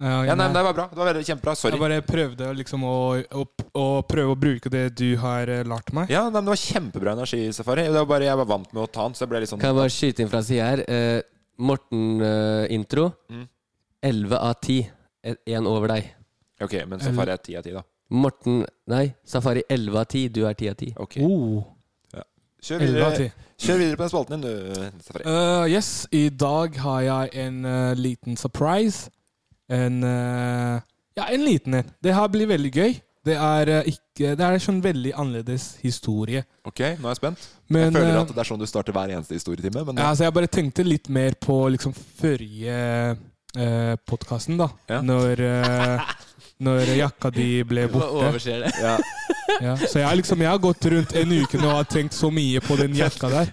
S5: Ja,
S3: Ja, nei, men det var bra. Det var veldig kjempebra. Sorry.
S5: Jeg bare prøvde liksom å, å, å prøve å bruke det du har eh, lært meg.
S3: Ja, nei, men det var kjempebra energisafari. Det var bare, jeg var vant med å ta den, så jeg ble litt sånn
S4: Kan jeg bare skyte inn fra sida her? Eh, Morten-intro.
S3: Mm.
S4: 11 av 10. Én over deg.
S3: Ok, men safari er ti av ti, da.
S4: Morten Nei, Safari 11 av 10. Du er 10 av 10.
S3: Ok.
S5: Oh.
S3: Kjør
S5: 11 av
S3: videre,
S5: 10.
S3: kjør videre på den spalten din, du, Safari.
S5: Eh, yes, i dag har jeg en eh, liten surprise. En eh, Ja, en liten en. Det her blir veldig gøy. Det er eh, ikke Det er en sånn veldig annerledes historie.
S3: Ok, nå er jeg spent.
S5: Men,
S3: jeg føler
S5: eh,
S3: at det er sånn du starter hver eneste historietime. Men
S5: Ja, altså jeg bare tenkte litt mer på liksom forrige eh, podkasten, da.
S3: Ja.
S5: Når, eh, når jakka di ble borte.
S4: overser det?
S3: ja,
S5: Ja. Så jeg, har liksom, jeg har gått rundt en uke nå og har tenkt så mye på den jakka der.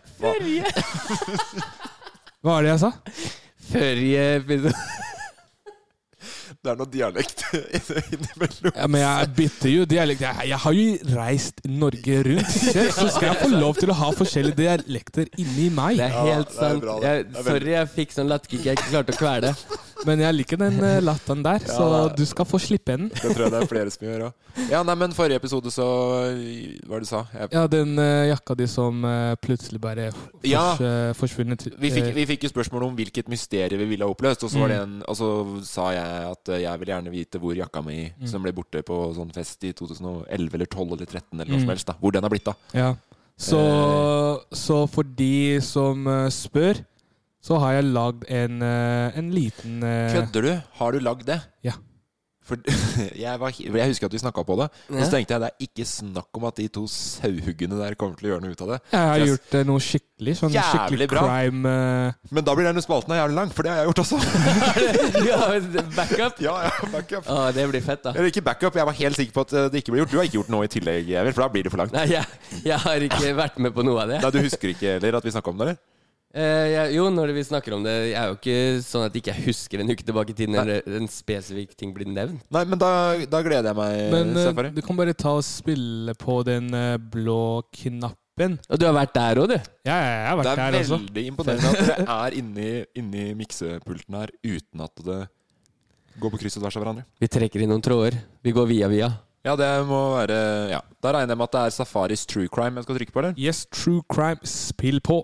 S5: Hva er det jeg sa?
S4: Førje episode
S3: det er noe dialekt innimellom.
S5: Ja, men jeg bytter jo dialekt. Jeg, jeg har jo reist Norge rundt selv, så skal jeg få lov til å ha forskjellige dialekter inni meg.
S4: Det er helt
S3: det er
S4: sant.
S3: bra, det. Det
S4: jeg,
S3: er veldig-
S4: sorry, jeg fikk sånn latterkick jeg ikke klarte å kvele.
S5: Men jeg liker den eh, latteren der, så du skal få slippe den.
S3: Det tror jeg det er flere som gjør òg. Ja, nei, men forrige episode, så Hva er det du sa? Jeg,
S5: Ja, den eh, jakka di som eh, plutselig bare fors,
S3: Ja.
S5: eh, forsvunnet.
S3: vi, fikk,
S5: eh, Mm.
S3: vi fikk jo spørsmål om hvilket mysterium vi ville ha oppløst, og så, var det en, og så sa jeg at eh, jeg vil gjerne vite hvor jakka mi
S5: Mm.
S3: som ble borte på sånn fest i 2011 eller 12 eller 13 eller noe
S5: Mm.
S3: som helst, da. Hvor den har blitt av.
S5: Ja. Så,
S3: Eh.
S5: så for de som eh, spør, så har jeg lagd en, eh, en liten eh,
S3: Kødder du? Har du lagd det?
S5: Ja.
S3: For jeg, var, jeg husker at vi snakka på det, og så tenkte jeg det er ikke snakk om at de to sauhuggene der kommer til å gjøre noe ut av det.
S5: Jeg har
S3: Yes.
S5: gjort eh, noe skikkelig. Sånn
S3: Jævlig
S5: skikkelig
S3: bra.
S5: crime eh,
S3: Men da blir denne spalten her jævlig lang, for det har jeg gjort også.
S4: Du har jo backup.
S3: ja, ja, backup.
S4: Å, det blir fett, da.
S3: Eller ikke backup, jeg var helt sikker på at eh, det ikke ble gjort. Du har ikke gjort noe i tillegg, Emil, for da blir det for langt.
S4: Nei, jeg, jeg har ikke vært med på noe av det.
S3: Nei, Du husker ikke heller at vi snakka om det, eller?
S4: Eh, jeg, jo, når vi snakker om det, jeg er jo ikke sånn at ikke jeg husker en uke tilbake i tiden, eller en spesifikk ting blir nevnt.
S3: Nei, men da, da gleder jeg meg,
S5: Men eh,
S3: Safari.
S5: du kan bare ta og spille på den eh, blå knappen.
S4: Og du har vært der òg, du.
S5: Ja, ja, jeg har
S3: Det
S5: vært
S3: er
S5: der,
S3: veldig
S5: altså.
S3: imponerende at dere er inni, inni miksepulten her uten at det går på kryss og tvers av hverandre.
S4: Vi trekker i noen tråder. Vi går via via.
S3: Ja, det må være Ja. Da regner jeg med at det er Safaris true crime jeg skal trykke på, eller?
S5: Yes, true crime, spill på.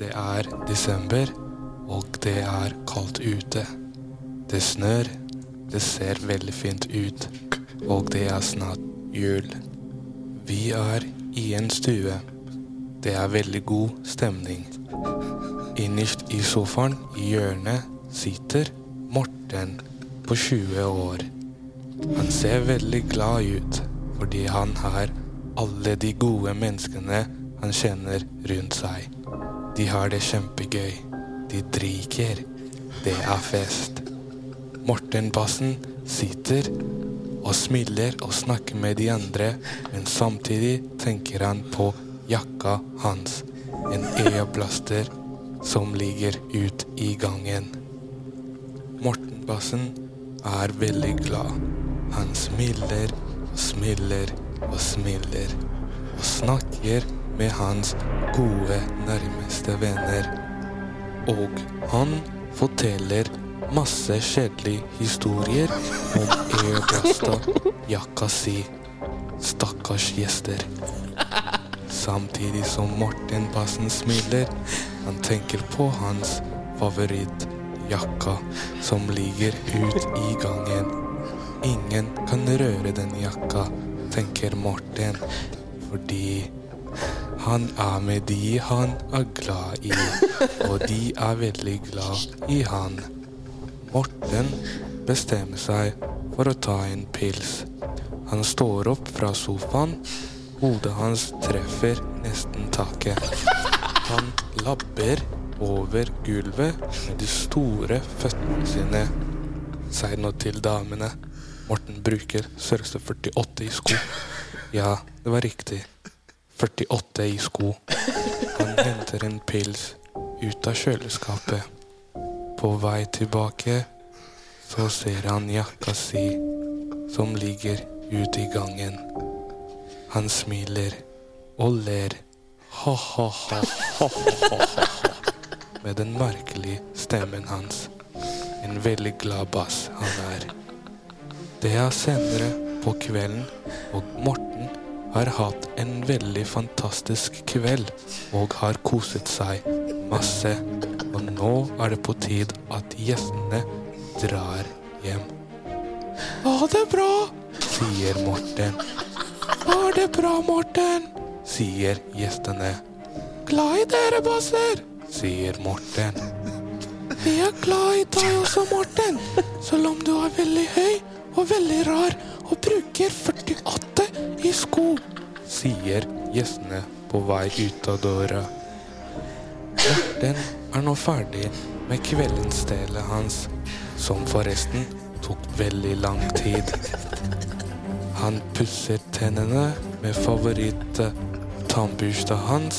S5: Det er desember, og det er kaldt ute. Det snør, det ser veldig fint ut, og det er snart jul. Vi er i en stue. Det er veldig god stemning. Innerst i sofaen i hjørnet sitter Morten på 20 år. Han ser veldig glad ut, fordi han har alle de gode menneskene han kjenner rundt seg. De har det kjempegøy. De drikker. Det er fest. Morten Bassen sitter og smiler og snakker med de andre, men samtidig tenker han på jakka hans, en øyeblaster som ligger ut i gangen. Morten Bassen er veldig glad. Han smiler og smiler og smiler og snakker med hans gode, nærmeste venner. Og han forteller masse kjedelige historier om Eoblasta jakka si. Stakkars gjester. Samtidig som Martin Bassen smiler, han tenker på hans favorittjakka som ligger ut i gangen. Ingen kan røre den jakka, tenker Martin, fordi han er med de han er glad i, og de er veldig glad i han. Morten bestemmer seg for å ta en pils. Han står opp fra sofaen. Hodet hans treffer nesten taket. Han labber over gulvet med de store føttene sine. Si noe til damene. Morten bruker størrelse 48 i sko. Ja, det var riktig. 48 i sko. Han henter en pils ut av kjøleskapet. På vei tilbake så ser han jakka si som ligger ute i gangen. Han smiler og ler. Ha-ha-ha. Med den merkelige stemmen hans. En veldig glad bass han er. Det er senere på kvelden, og Morten har hatt en veldig fantastisk kveld og har koset seg masse. Og nå er det på tid at gjestene drar hjem. Ha det bra, sier Morten. Ha det bra, Morten, sier gjestene. Glad i dere, basser, sier Morten. Vi er glad i deg også, Morten, selv om du er veldig høy og veldig rar og bruker 48 i sko, sier gjestene på vei ut av døra. Den er nå ferdig med kveldens del hans, som forresten tok veldig lang tid. Han pusser tennene med favoritt-tannbørsta hans,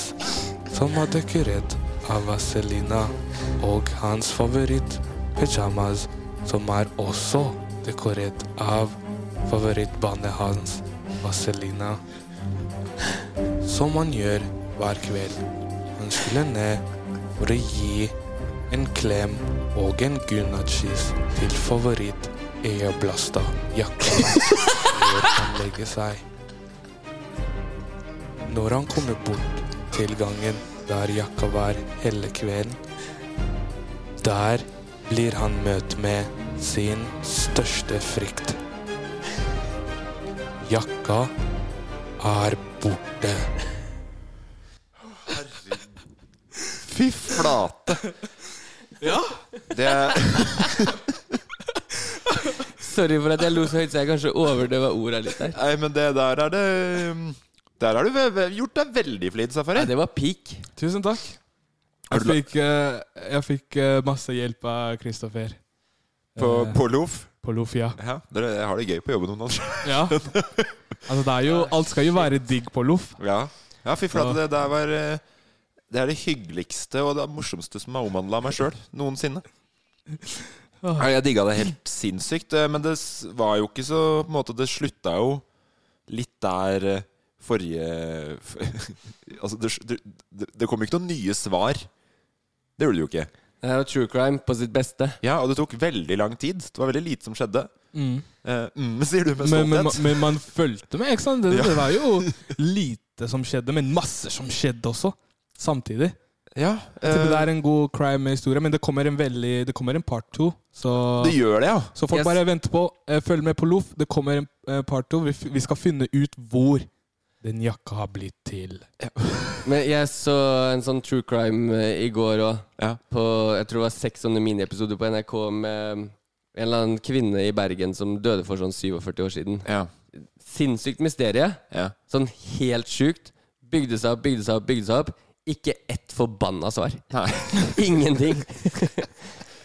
S5: som er dekorert av Vazelina, og hans favoritt-pyjamas, som er også dekorert av favorittbandet hans, Vazelina. Som han gjør hver kveld. Han skulle ned for å gi en klem og en gunnatskis til favoritt Eoblasta jakka før han legger seg. Når han kommer bort til gangen der jakka var hele kvelden, der blir han møtt med sin største frykt. Jakka er borte.
S3: Fy flate!
S5: Ja.
S3: Det
S4: Sorry for at jeg lo så høyt, så jeg kanskje overdøva orda litt der.
S3: Nei, men det der er det um, Der har du ve- ve- gjort deg veldig flid, Safari.
S4: det var peak.
S5: Tusen takk. Jeg fikk, eh, jeg fikk eh, masse hjelp av Kristoffer.
S3: På,
S5: Eh,
S3: på Lof?
S5: På Lof, ja.
S3: ja. Dere har det gøy på jobben om dagen.
S5: Ja. Altså, det er jo, alt skal jo være digg på Loff.
S3: Ja. ja, fy flate,
S5: Og-
S3: det der var eh, Det er det hyggeligste og det morsomste som er omhandla av meg sjøl noensinne.
S5: Åh.
S3: Ja, Jeg digga det helt sinnssykt, eh, men det s- var jo ikke så på en måte, Det slutta jo litt der eh, forrige Altså, det, s- det- det, det kom jo ikke noen nye svar. Det gjorde det jo ikke.
S4: Det er jo true crime på sitt beste.
S3: Ja, og det tok veldig lang tid. Det var veldig lite som skjedde.
S5: Mm.
S3: Eh, mm, sier du med
S5: Men, men,
S3: stolthet.
S5: men man fulgte med, ikke sant? Det,
S3: Ja.
S5: det var jo lite som skjedde, men masse som skjedde også. Samtidig.
S3: Ja,
S5: Jeg tipper
S3: eh,
S5: det er en god crime-historie, men det kommer en veldig Det kommer en part two. Så,
S3: det gjør det, ja.
S5: så folk
S4: Yes.
S5: bare venter på. eh, Følg med på Loff. Det kommer en eh, part two. Vi, f- vi skal finne ut hvor den jakka har blitt til.
S4: Men jeg så en sånn true crime eh, i går òg.
S3: Ja.
S4: På jeg tror det var seks sånne miniepisoder på NRK med um, en eller annen kvinne i Bergen som døde for sånn 47 år siden.
S3: ja.
S4: Sinnssykt mysterie.
S3: ja.
S4: Sånn helt sjukt. Bygde seg opp, bygde seg opp, bygde seg opp. Ikke ett forbanna svar. Ingenting.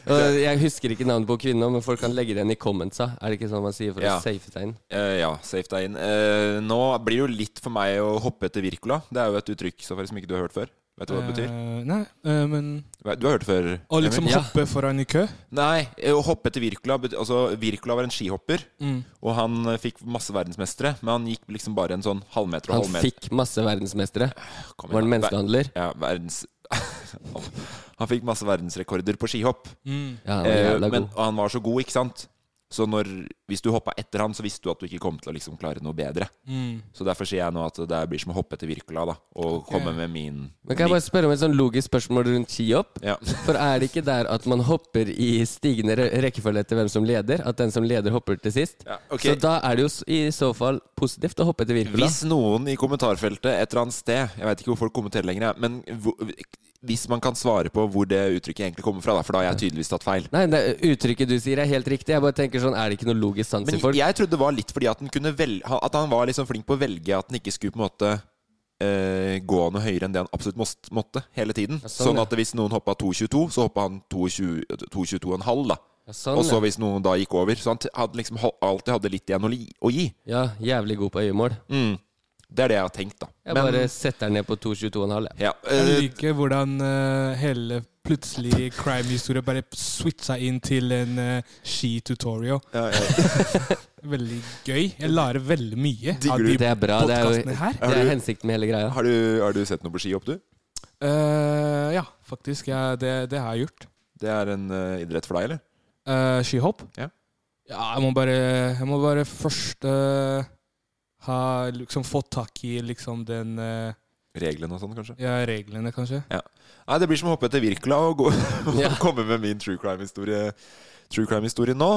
S4: Og jeg husker ikke navnet på kvinna, men folk kan legge det igjen i commentsa. Er det ikke sånn man sier for
S3: Ja.
S4: å safe seg inn?
S3: Eh, ja, safe deg inn. Eh, nå blir det jo litt for meg å hoppe etter Wirkola. Det er jo et uttrykk Safari, som ikke du har hørt før. Vet du hva det betyr?
S5: Eh, nei, eh, men
S3: Hva- Du har hørt det før?
S5: Å liksom
S3: Emil?
S4: Ja.
S5: hoppe foran i kø?
S3: Nei, eh, å hoppe etter Wirkola bet- Altså, Wirkola var en skihopper,
S5: Mm.
S3: og han eh, fikk masse verdensmestere, men han gikk liksom bare en sånn halvmeter og
S4: Han
S3: halvmeter.
S4: fikk masse verdensmestere.
S3: Kom
S4: Var han
S3: igjen, da. Ver-
S4: menneskehandler?
S3: Ja, verdens... han fikk masse verdensrekorder på skihopp.
S5: Mm.
S4: Ja, han var
S3: Eh,
S4: jævla
S3: men
S4: god.
S3: og han var så god, ikke sant? Så når, hvis du hoppa etter han, så visste du at du ikke kom til å liksom klare noe bedre. Så derfor sier jeg nå at det blir som å hoppe etter Wirkola, da. Og komme med min
S4: Men kan jeg bare spørre om et sånn logisk spørsmål rundt skihopp?
S3: Ja.
S4: For er det ikke der at man hopper i stigende re- rekkefølge etter hvem som leder? At den som leder hopper til sist?
S3: Ja, ok.
S4: Så da er det jo s- i så fall positivt å hoppe etter Wirkola.
S3: Hvis noen i kommentarfeltet et eller annet sted Jeg vet ikke hvor folk kommenterer lenger, jeg, men hvor- hvis man kan svare på hvor det uttrykket egentlig kommer fra, da, for da har jeg tydeligvis tatt feil.
S4: Nei, det uttrykket du sier er helt riktig. Jeg bare tenker sånn, er det ikke noe logisk sans i
S3: Men
S4: folk?
S3: jeg trodde det var litt fordi at han, kunne vel, at han var liksom flink på å velge at han ikke skulle på en måte eh, gå noe høyere enn det han absolutt måst, måtte hele tiden.
S4: Ja, sånn,
S3: sånn
S4: ja.
S3: at hvis noen hoppa 2,22, så hoppa han 2,20 2,22,5, da.
S4: Ja, sånn,
S3: Og så
S4: ja.
S3: hvis noen da gikk over. Så han t- hadde liksom hol- alltid hadde litt igjen å, li, å gi. Mm.
S4: ja, jævlig god på øyemål.
S3: Det er det jeg har tenkt, da.
S4: Jeg bare setter den ned på 2,22,5. jeg.
S3: ja,
S5: Jeg
S3: eh,
S5: liker hvordan eh, hele plutselig crime-historie bare switcha inn til en eh, ski-tutorial.
S3: ja, ja.
S5: Veldig gøy. Jeg lærer veldig mye
S3: Digger
S5: av
S3: du
S5: de
S4: Det er bra. Det er jo
S5: podkastene her.
S4: det er hensikten med hele greia.
S3: Har, du, har du sett noe på skihopp, du?
S5: Eh, ja, faktisk. jeg- det, det har jeg gjort.
S3: Det er en eh, idrett for deg, eller?
S5: Eh, skihopp?
S3: Ja.
S5: Ja, jeg må bare, jeg må bare først eh, ha liksom fått tak i liksom den eh,
S3: Reglene og sånn, kanskje?
S5: ja, reglene, kanskje.
S3: Nei, det blir som å hoppe etter Wirkola og, gå, og
S4: Ja.
S3: komme med min true crime-historie True crime-historie nå.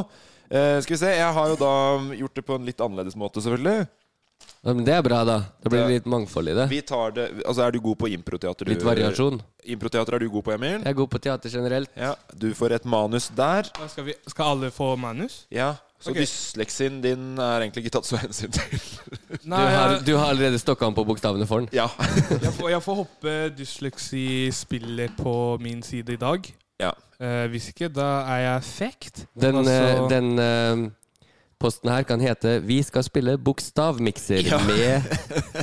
S3: Eh, skal vi se, jeg har jo da gjort det på en litt annerledes måte, selvfølgelig.
S4: Ja, Men det er bra, da. Da blir det litt mangfold i det.
S3: Vi tar det, altså Er du god på improteater? du-
S4: Litt variasjon.
S3: Improteater er du god på, Emil?
S4: Jeg er god på teater generelt.
S3: Ja, Du får et manus der.
S5: Da Skal, vi, skal alle få manus?
S3: Ja, Så
S5: Ok.
S3: dysleksien din er egentlig ikke tatt så hensyn til.
S4: Du
S5: Nei, eh,
S4: har,
S5: jeg,
S4: du har allerede stokka om på bokstavene for den.
S3: Ja.
S5: jeg, får, jeg får hoppe dysleksi-spillet på min side i dag.
S3: ja.
S5: Eh, hvis ikke, da er jeg Altså, fekt.
S4: Den,
S3: Altså-
S5: Og så-
S4: eh, den eh, posten her kan hete 'Vi skal spille bokstavmikser med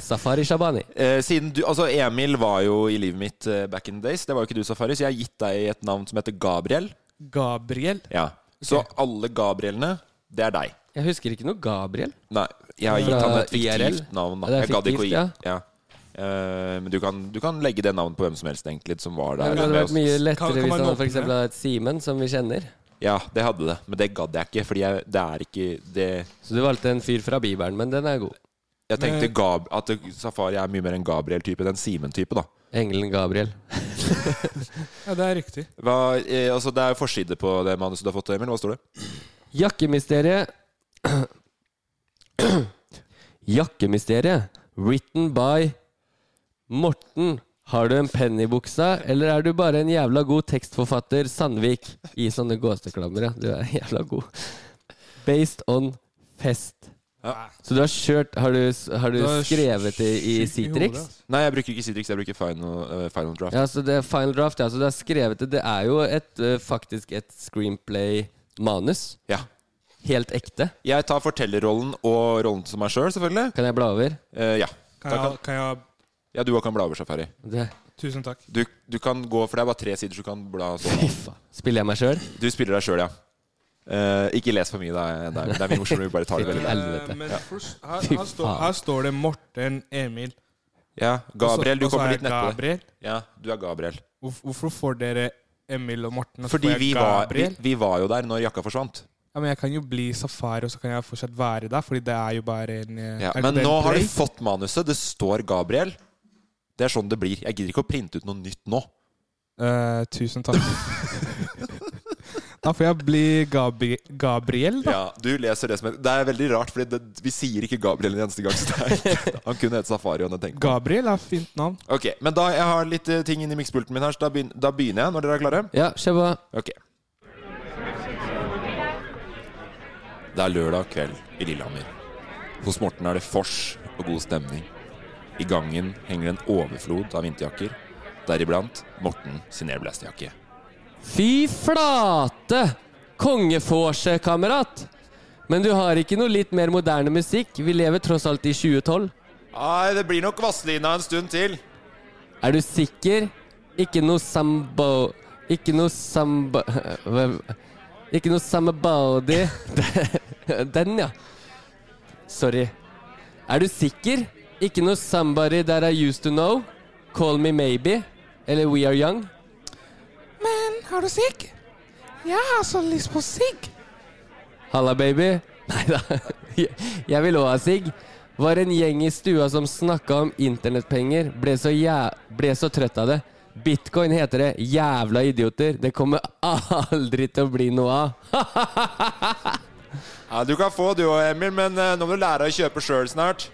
S4: Safari Shabani'.
S3: Eh, siden du, altså Emil var jo i livet mitt eh, back in the days. Det var jo ikke du, Safari, så jeg har gitt deg et navn som heter Gabriel.
S5: Gabriel.
S3: Ja. Så alle Gabrielene, det er deg.
S4: Jeg husker ikke noe Gabriel.
S3: Nei, jeg har gitt
S4: Fra
S3: han et
S4: IRL?
S3: fiktivt navn. Da.
S4: Ja, det
S3: Jeg
S4: er
S3: gadd ikke å
S4: fiktivt,
S3: gi. Ja. Eh, men du kan, du kan legge det navnet på hvem som helst egentlig som var
S4: Det
S3: der. med
S4: hadde vært
S3: oss.
S4: mye
S5: Kan-
S4: lettere
S5: kan
S4: hvis
S5: man
S4: han
S5: åpne?
S4: for eksempel hadde et Simen, som vi kjenner.
S3: Ja, det hadde det, men det gadd jeg ikke. Fordi jeg, det er ikke det
S4: Så du valgte en fyr fra Bibelen, men den er god.
S3: Jeg tenkte Gab, at det- Safari er mye mer en Gabriel-type enn en Simen-type, da.
S4: Engelen Gabriel.
S5: Ja, det er riktig.
S3: Hva, eh, altså, det er jo forside på det manuset du har fått, Emil. Hva står det?
S4: Jakkemysteriet Jakkemysteriet Written by Morten Har du en penn i buksa Eller er du bare en jævla god tekstforfatter Sandvik I sånne gåseklammer ja. Du er jævla god Based on fest. Så du har kjørt Har du, har du
S3: Du er
S4: skrevet det i
S3: sjuk i hodet,
S4: Citrix?
S5: altså.
S3: ass. Nei, jeg bruker ikke Citrix, jeg bruker Final, eh, final Draft.
S4: Ja, så det er Final Draft, ja. Så du har skrevet det. Det er jo et, eh, faktisk et screenplay-manus.
S3: Ja.
S4: Helt ekte.
S3: Jeg tar fortellerrollen og rollen som meg sjøl, selv, selvfølgelig. Eh,
S4: Kan jeg bla over?
S3: ja.
S5: Kan
S3: Da
S5: jeg, kan jeg
S3: ja, du også kan bla over Safari.
S4: Det.
S5: Tusen takk.
S3: Du, du kan gå, for det er bare tre sider, så du kan bla sånn.
S4: Spiller jeg meg sjøl?
S3: Du spiller deg sjøl, ja. Eh, ikke les for mye, det er, det er, det er mye morsommere. Vi bare tar det veldig
S5: Eh, Men først, her, her, står, her står det Morten Emil.
S3: Ja, Gabriel, du
S5: Og så- og så
S3: kommer
S5: er
S3: litt
S5: jeg
S3: nedpå
S5: Gabriel.
S3: det. Ja, du er Gabriel.
S5: Hvorf- Hvorfor får dere Emil og Morten? og så
S3: Fordi
S5: får jeg
S3: vi var, vi,
S5: Gabriel?
S3: vi var jo der når jakka forsvant.
S5: Ja, men Jeg kan jo bli safari, og så kan jeg fortsatt være der, fordi det er jo bare en eh,
S3: Ja,
S5: er det
S3: men
S5: en
S3: nå har
S5: play?
S3: du fått manuset. Det står Gabriel. Det er sånn det blir. Jeg gidder ikke å printe ut noe nytt nå.
S5: Eh, Tusen takk. da får jeg bli Gabri Gabriel, da.
S3: Ja, du leser Det som er Det er veldig rart, for vi sier ikke Gabriel en eneste gang. Så det er, han kunne hett Safari. Og tenkt.
S5: Gabriel er fint navn.
S3: Ok, Men da jeg har litt eh, ting inni mikspulten min her, så da begyn- da begynner jeg når dere er klare.
S4: Ja, kjør på.
S3: Ok. Det er lørdag kveld i Lillehammer. Hos Morten er det fors og god stemning. I gangen henger en overflod av vinterjakker, deriblant Morten sin airblastjakke.
S4: Fy flate! Kongeforset, kamerat! Men du har ikke noe litt mer moderne musikk? Vi lever tross alt i 2012.
S3: Nei, det blir nok Vazelina en stund til.
S4: Er du sikker? Ikke noe sambo... Ikke noe samba... Hva- Ikke noe samabody. Den, ja. Sorry. Er du sikker? Ikke noe somebody that I used to know? Call me maybe? Eller We are young?
S7: Men har du sigg? Jeg har så lyst på sigg.
S4: Halla, baby. Nei da. Jeg- Jeg vil òg ha sigg. Var en gjeng i stua som snakka om internettpenger. Ble så, jæ ble så trøtt av det. Bitcoin heter det. Jævla idioter. Det kommer aldri til å bli noe av.
S3: Ja, du kan få du òg, Emil, men eh, nå må du lære å kjøpe sjøl snart.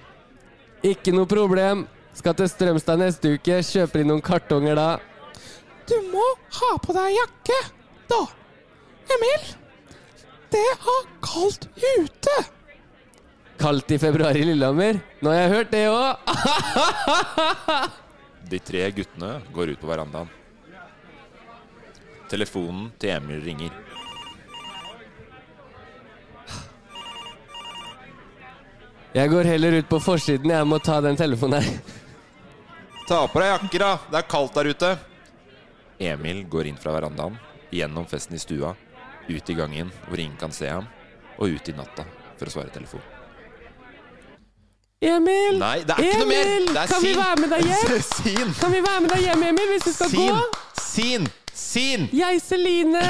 S4: Ikke noe problem. Skal til Strømstad neste uke. Kjøper inn noen kartonger da.
S7: Du må ha på deg jakke, da. Emil, det er kaldt ute.
S4: Kaldt i februar i Lillehammer. Nå har jeg hørt det Ah! òg.
S3: De tre guttene går ut på verandaen. Telefonen til Emil ringer.
S4: Jeg går heller ut på forsiden. Jeg må ta den telefonen her.
S3: Ta på deg jakker, da. Det er kaldt der ute. Emil går inn fra verandaen, gjennom festen i stua, ut i gangen hvor ingen kan se ham, og ut i natta for å svare telefon.
S4: Emil!
S3: Nei, det er ikke noe mer!
S4: Emil,
S3: Det er
S4: Kan vi
S3: sin.
S4: være med deg hjem?
S3: Sin!
S4: Kan vi være med deg hjem, Emil, hvis du skal
S3: Sin!
S4: gå?
S3: Sin! Sin!
S4: Jeg, Celine,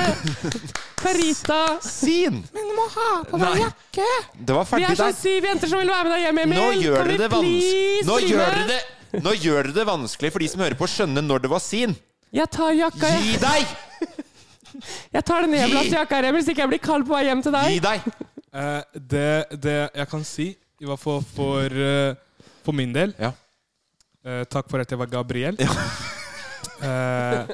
S4: Carita
S3: Sin!
S7: Men du må ha på deg
S3: Nei.
S7: jakke.
S3: Det var
S4: Vi
S3: ferdig
S4: er sånn
S3: der.
S4: syv jenter som vil være med deg hjem, Emil.
S3: Nå gjør dere
S4: Kan vi
S3: det vanskelig
S4: please
S3: Nå
S4: bli
S3: gjør dere
S4: med?
S3: det Nå gjør dere det vanskelig for de som hører på, å skjønne når det var sin.
S4: Jeg tar jakka,
S3: Gi
S4: jeg.
S3: deg!
S4: Jeg tar den nedblaste jakka her, Emil, så ikke jeg blir kald på vei hjem til
S3: Gi
S4: deg.
S3: deg!
S5: Eh, det, det jeg kan si, i hvert fall for, eh, for min del
S3: Ja.
S5: eh, Takk for at jeg var Gabriel. Eh,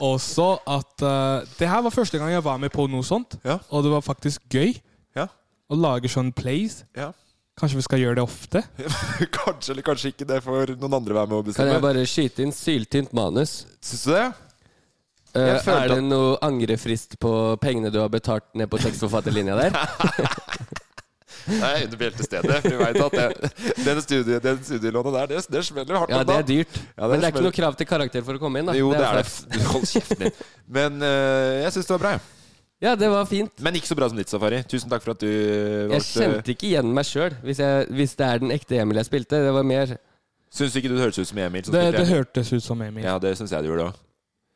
S5: også at eh, Det her var første gang jeg var med på noe sånt,
S3: Ja.
S5: og det var faktisk gøy
S3: Ja.
S5: å lage sånn plays.
S3: ja.
S5: Kanskje vi skal gjøre det ofte?
S3: Kanskje eller kanskje ikke. Det får noen andre være med å
S4: Kan
S3: bestemme.
S4: jeg bare skyte inn syltynt manus?
S3: Syns du det?
S4: Eh,
S3: Jeg følte
S4: er det
S3: at-
S4: noe angrefrist på pengene du har betalt ned på tekstforfatterlinja der?
S3: Nei, under bjeltestedet. For vi vet at det, den, studie, den studielånet der, det, det smeller hardt.
S4: Ja,
S3: om
S4: det er
S3: dagen.
S4: dyrt.
S3: Ja,
S4: Men det er ikke
S3: smeller.
S4: noe krav til karakter for å komme inn, da. altså-
S3: Jo, det er det.
S4: flaks.
S3: Du, Hold kjeften din. Men eh, jeg syns det var bra. jeg.
S4: Ja, det var fint.
S3: Men ikke så bra som ditt, Safari. Tusen takk for at du eh,
S4: Jeg
S3: valgte
S4: kjente ikke igjen meg sjøl, hvis, jeg- hvis det er den ekte Emil jeg spilte. Det var mer
S3: Syns ikke du høres ut som Emil? Som
S5: Det,
S3: spilte
S5: det
S3: Emil?
S5: hørtes ut som Emil.
S3: Ja, det syns jeg du gjorde òg.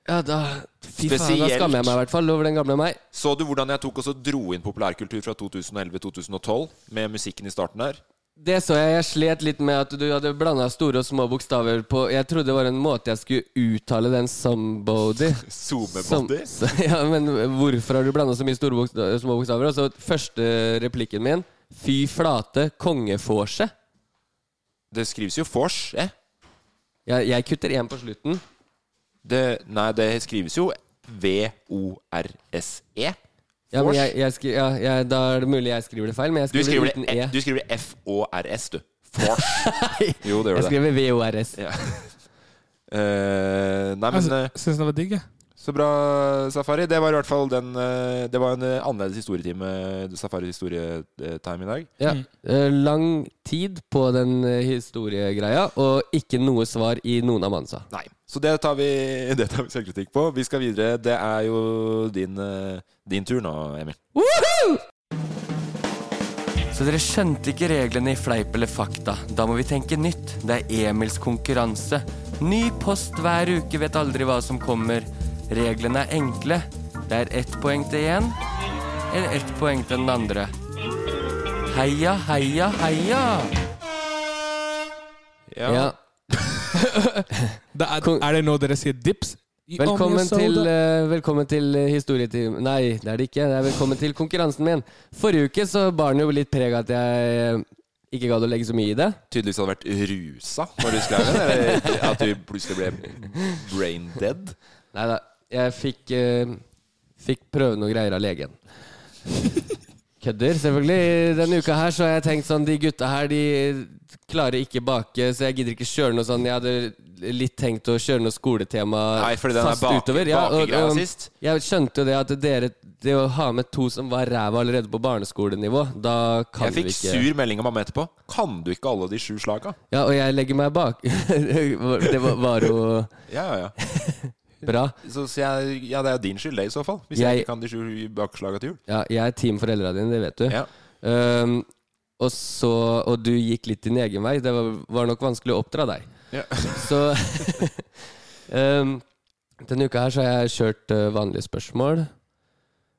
S4: Ja, da Fy faen, da
S3: Spesielt.
S4: skammer jeg meg i hvert fall over den gamle meg.
S3: Så du hvordan jeg tok og så dro inn populærkultur fra 2011-2012 med musikken i starten der?
S4: Det så jeg. Jeg slet litt med at du hadde blanda store og små bokstaver på Jeg trodde det var en måte jeg skulle uttale den somebody Som-
S3: Zoomebody?
S4: så- ja, men hvorfor har du blanda så mye store bokstaver, små bokstaver? Og så første replikken min Fy flate, kongeforse.
S3: Det skrives jo vors, eh?
S4: Jeg, jeg kutter én på slutten.
S3: E. Det, nei, det skrives jo V-O-R-S-E.
S4: Ja, men jeg, jeg skri, ja, jeg, da er det mulig jeg skriver det feil, men jeg
S3: Du
S4: skriver,
S3: skriver,
S4: uten
S3: det,
S4: E.
S3: du skriver det F-O-R-S, du. Fors. jo, det gjør
S4: Jeg
S3: det.
S4: skriver VORS.
S3: Ja. Eh, nei,
S4: Altså-
S3: men eh,
S5: Jeg syns den var digg, jeg.
S3: så bra, Safari. Det var i hvert fall den eh, Det var en eh, annerledes historietime, Safaris historietime i dag.
S4: Ja. eh, Lang tid på den eh, historiegreia, og ikke noe svar i noen av mansa.
S3: Nei. Så det tar vi, det tar vi selvkritikk på. Vi skal videre. Det er jo din, eh, din tur nå, Emil.
S8: Så dere skjønte ikke reglene i Fleip eller fakta. Da må vi tenke nytt. Det er Emils konkurranse. Ny post hver uke, vet aldri hva som kommer. Reglene er enkle. Det er ett poeng til én, eller ett poeng til den andre. Heia, heia, heia!
S3: Ja.
S5: Det er, er det nå dere sier dips? I
S4: Velkommen
S5: Omnia Soda.
S4: til, eh, velkommen til eh, historietime Nei, det er det ikke. Det er velkommen til konkurransen min. Forrige uke så bar den jo litt preg av at jeg eh, ikke gadd å legge så mye i det.
S3: Tydeligvis hadde vært rusa når du skrev den. Eller at du plutselig ble brain dead.
S4: Nei da. Jeg fikk, eh, fikk prøve noen greier av legen. Kødder, selvfølgelig. Denne uka her så har jeg tenkt sånn De gutta her, de klarer ikke bake, så jeg gidder ikke kjøre noe sånn Jeg hadde litt tenkt å kjøre noe skoletema
S3: Nei, fordi den der bake- bakegreia sist.
S4: Jeg skjønte jo det at dere Det å ha med to som var ræva allerede på barneskolenivå, da kan
S3: Jeg fikk
S4: vi ikke
S3: sur melding av mamma etterpå. Kan du ikke alle de sju slaga?
S4: Ja, og jeg legger meg bak. det var, var jo
S3: Ja, ja, ja.
S4: bra.
S3: Så, så jeg, ja, det er din skyld, det, i så fall. Hvis jeg,
S4: Jeg-
S3: ikke kan de sju bakslaga til jul.
S4: Ja, jeg er team foreldra dine, det vet du. Um, og, så, og du gikk litt din egen vei. Det var, var nok vanskelig å oppdra deg.
S3: Ja.
S4: så um, denne uka her så har jeg kjørt uh, vanlige spørsmål.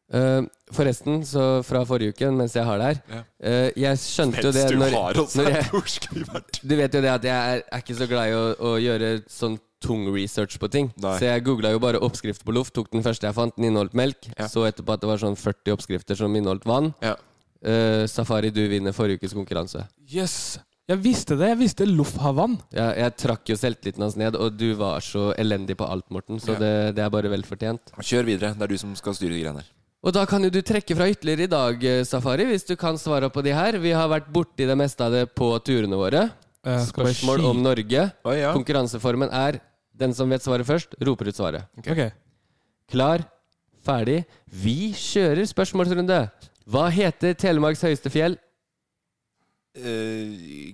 S4: Um, forresten, så fra forrige uke, mens jeg har det her
S3: Ja.
S4: uh, Jeg skjønte jo
S3: Mens
S4: det
S3: du
S4: når,
S3: har oss
S4: når
S3: her,
S4: jeg,
S3: hvor skal vi vært?
S4: Du vet jo det at jeg er, er ikke så glad i å, å gjøre sånn tung research på ting.
S3: Nei.
S4: Så jeg googla jo bare oppskrifter på loff. Tok den første jeg fant, den inneholdt melk. Så etterpå at det var sånn 40 oppskrifter som inneholdt vann. Eh, Safari, du vinner forrige ukes konkurranse.
S5: Yes. Jeg visste det. Jeg visste loff har vann.
S4: Jeg, jeg trakk jo selvtilliten hans ned, og du var så elendig på alt, Morten. Så
S3: Ja.
S4: det, det er bare velfortjent.
S3: Kjør videre. Det er du som skal styre de greiene her.
S4: Og da kan jo du trekke fra ytterligere i dag, eh, Safari, hvis du kan svare på de her. Vi har vært borti det meste av det på turene våre.
S5: Eh, skal bare
S4: Spørsmål
S5: skyte.
S4: om Norge.
S5: Oi, ja.
S4: Konkurranseformen er den som vet svaret først, roper ut svaret.
S5: Ok. eh,
S4: Klar, ferdig. Vi kjører spørsmålsrunde. Hva heter Telemarks høyeste fjell?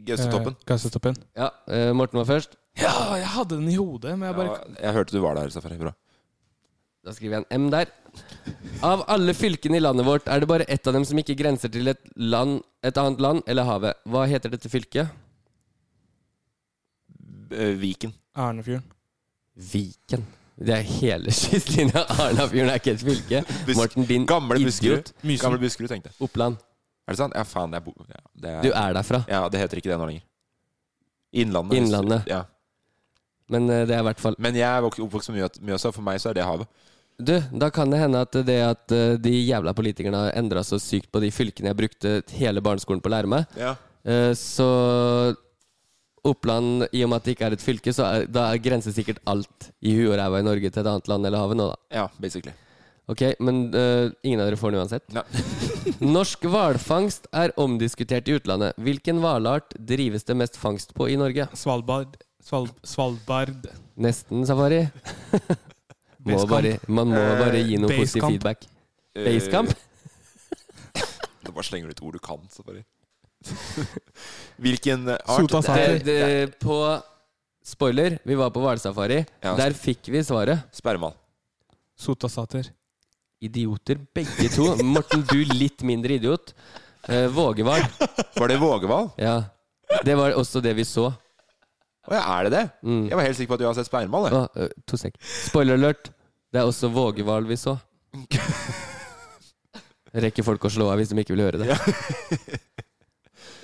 S3: Gaustetoppen.
S5: Eh, Gaustatoppen.
S4: Ja, eh, Morten var først.
S5: Ja, jeg hadde den i hodet, men jeg bare
S3: Jeg hørte du var der, Safari. Bra.
S4: Da skriver jeg en M der. Av alle fylkene i landet vårt er det bare ett av dem som ikke grenser til et, land, et annet land eller havet. Hva heter dette fylket?
S3: Eh, Viken.
S5: Arnefjorden.
S4: Viken. Det er hele kystlinja. Arnafjorden er ikke et fylke.
S3: Busk-
S4: Morten, din
S3: Gamle Buskerud.
S4: idiot. Mysen.
S3: Gamle Buskerud, tenkte jeg.
S4: Oppland.
S3: Er det sant? Ja, faen. Jeg bo, ja, det
S4: Du er derfra.
S3: Ja, det heter ikke det nå lenger. Innlandet.
S4: Innlandet.
S3: Ja.
S4: Men eh, det er i hvert fall
S3: Men jeg er vok- oppvokst på Mjø- Mjøsa, og for meg så er det havet.
S4: Du, da kan det hende at det at eh, de jævla politikerne har endra så sykt på de fylkene jeg brukte hele barneskolen på å lære meg.
S3: Ja.
S4: Eh, Så Oppland, i og med at det ikke er et fylke, så er, da er- grenser sikkert alt i huet og ræva i Norge til et annet land eller havet nå, da.
S3: Ja, basically.
S4: Ok, men eh, ingen av dere får den uansett? Norsk hvalfangst er omdiskutert i utlandet. Hvilken hvalart drives det mest fangst på i Norge?
S5: Svalbard. Sval Svalbard.
S4: Nesten safari. må
S5: Basecamp.
S4: bare, man må
S5: Eh,
S4: bare gi noe positiv
S5: Basecamp.
S4: feedback.
S3: Eh,
S4: Basecamp?
S3: Du bare slenger ut ord du kan, Safari. Hvilken art
S5: Eh,
S4: Det, Eh, det, på Spoiler, vi var på hvalsafari.
S3: Ja.
S4: Der fikk vi svaret.
S3: Spermal.
S5: Sotasater.
S4: Idioter begge to. Morten, du litt mindre idiot. Eh, vågehval.
S3: Var det vågehval?
S4: Ja. Det var også det vi så.
S3: Å ja, er det det?
S4: Mm.
S3: Jeg var helt sikker på at du har sett spermal. jeg.
S4: Å, eh, to sek. Spoiler alert. Det er også vågehval vi så. Rekker folk å slå av hvis de ikke vil høre det.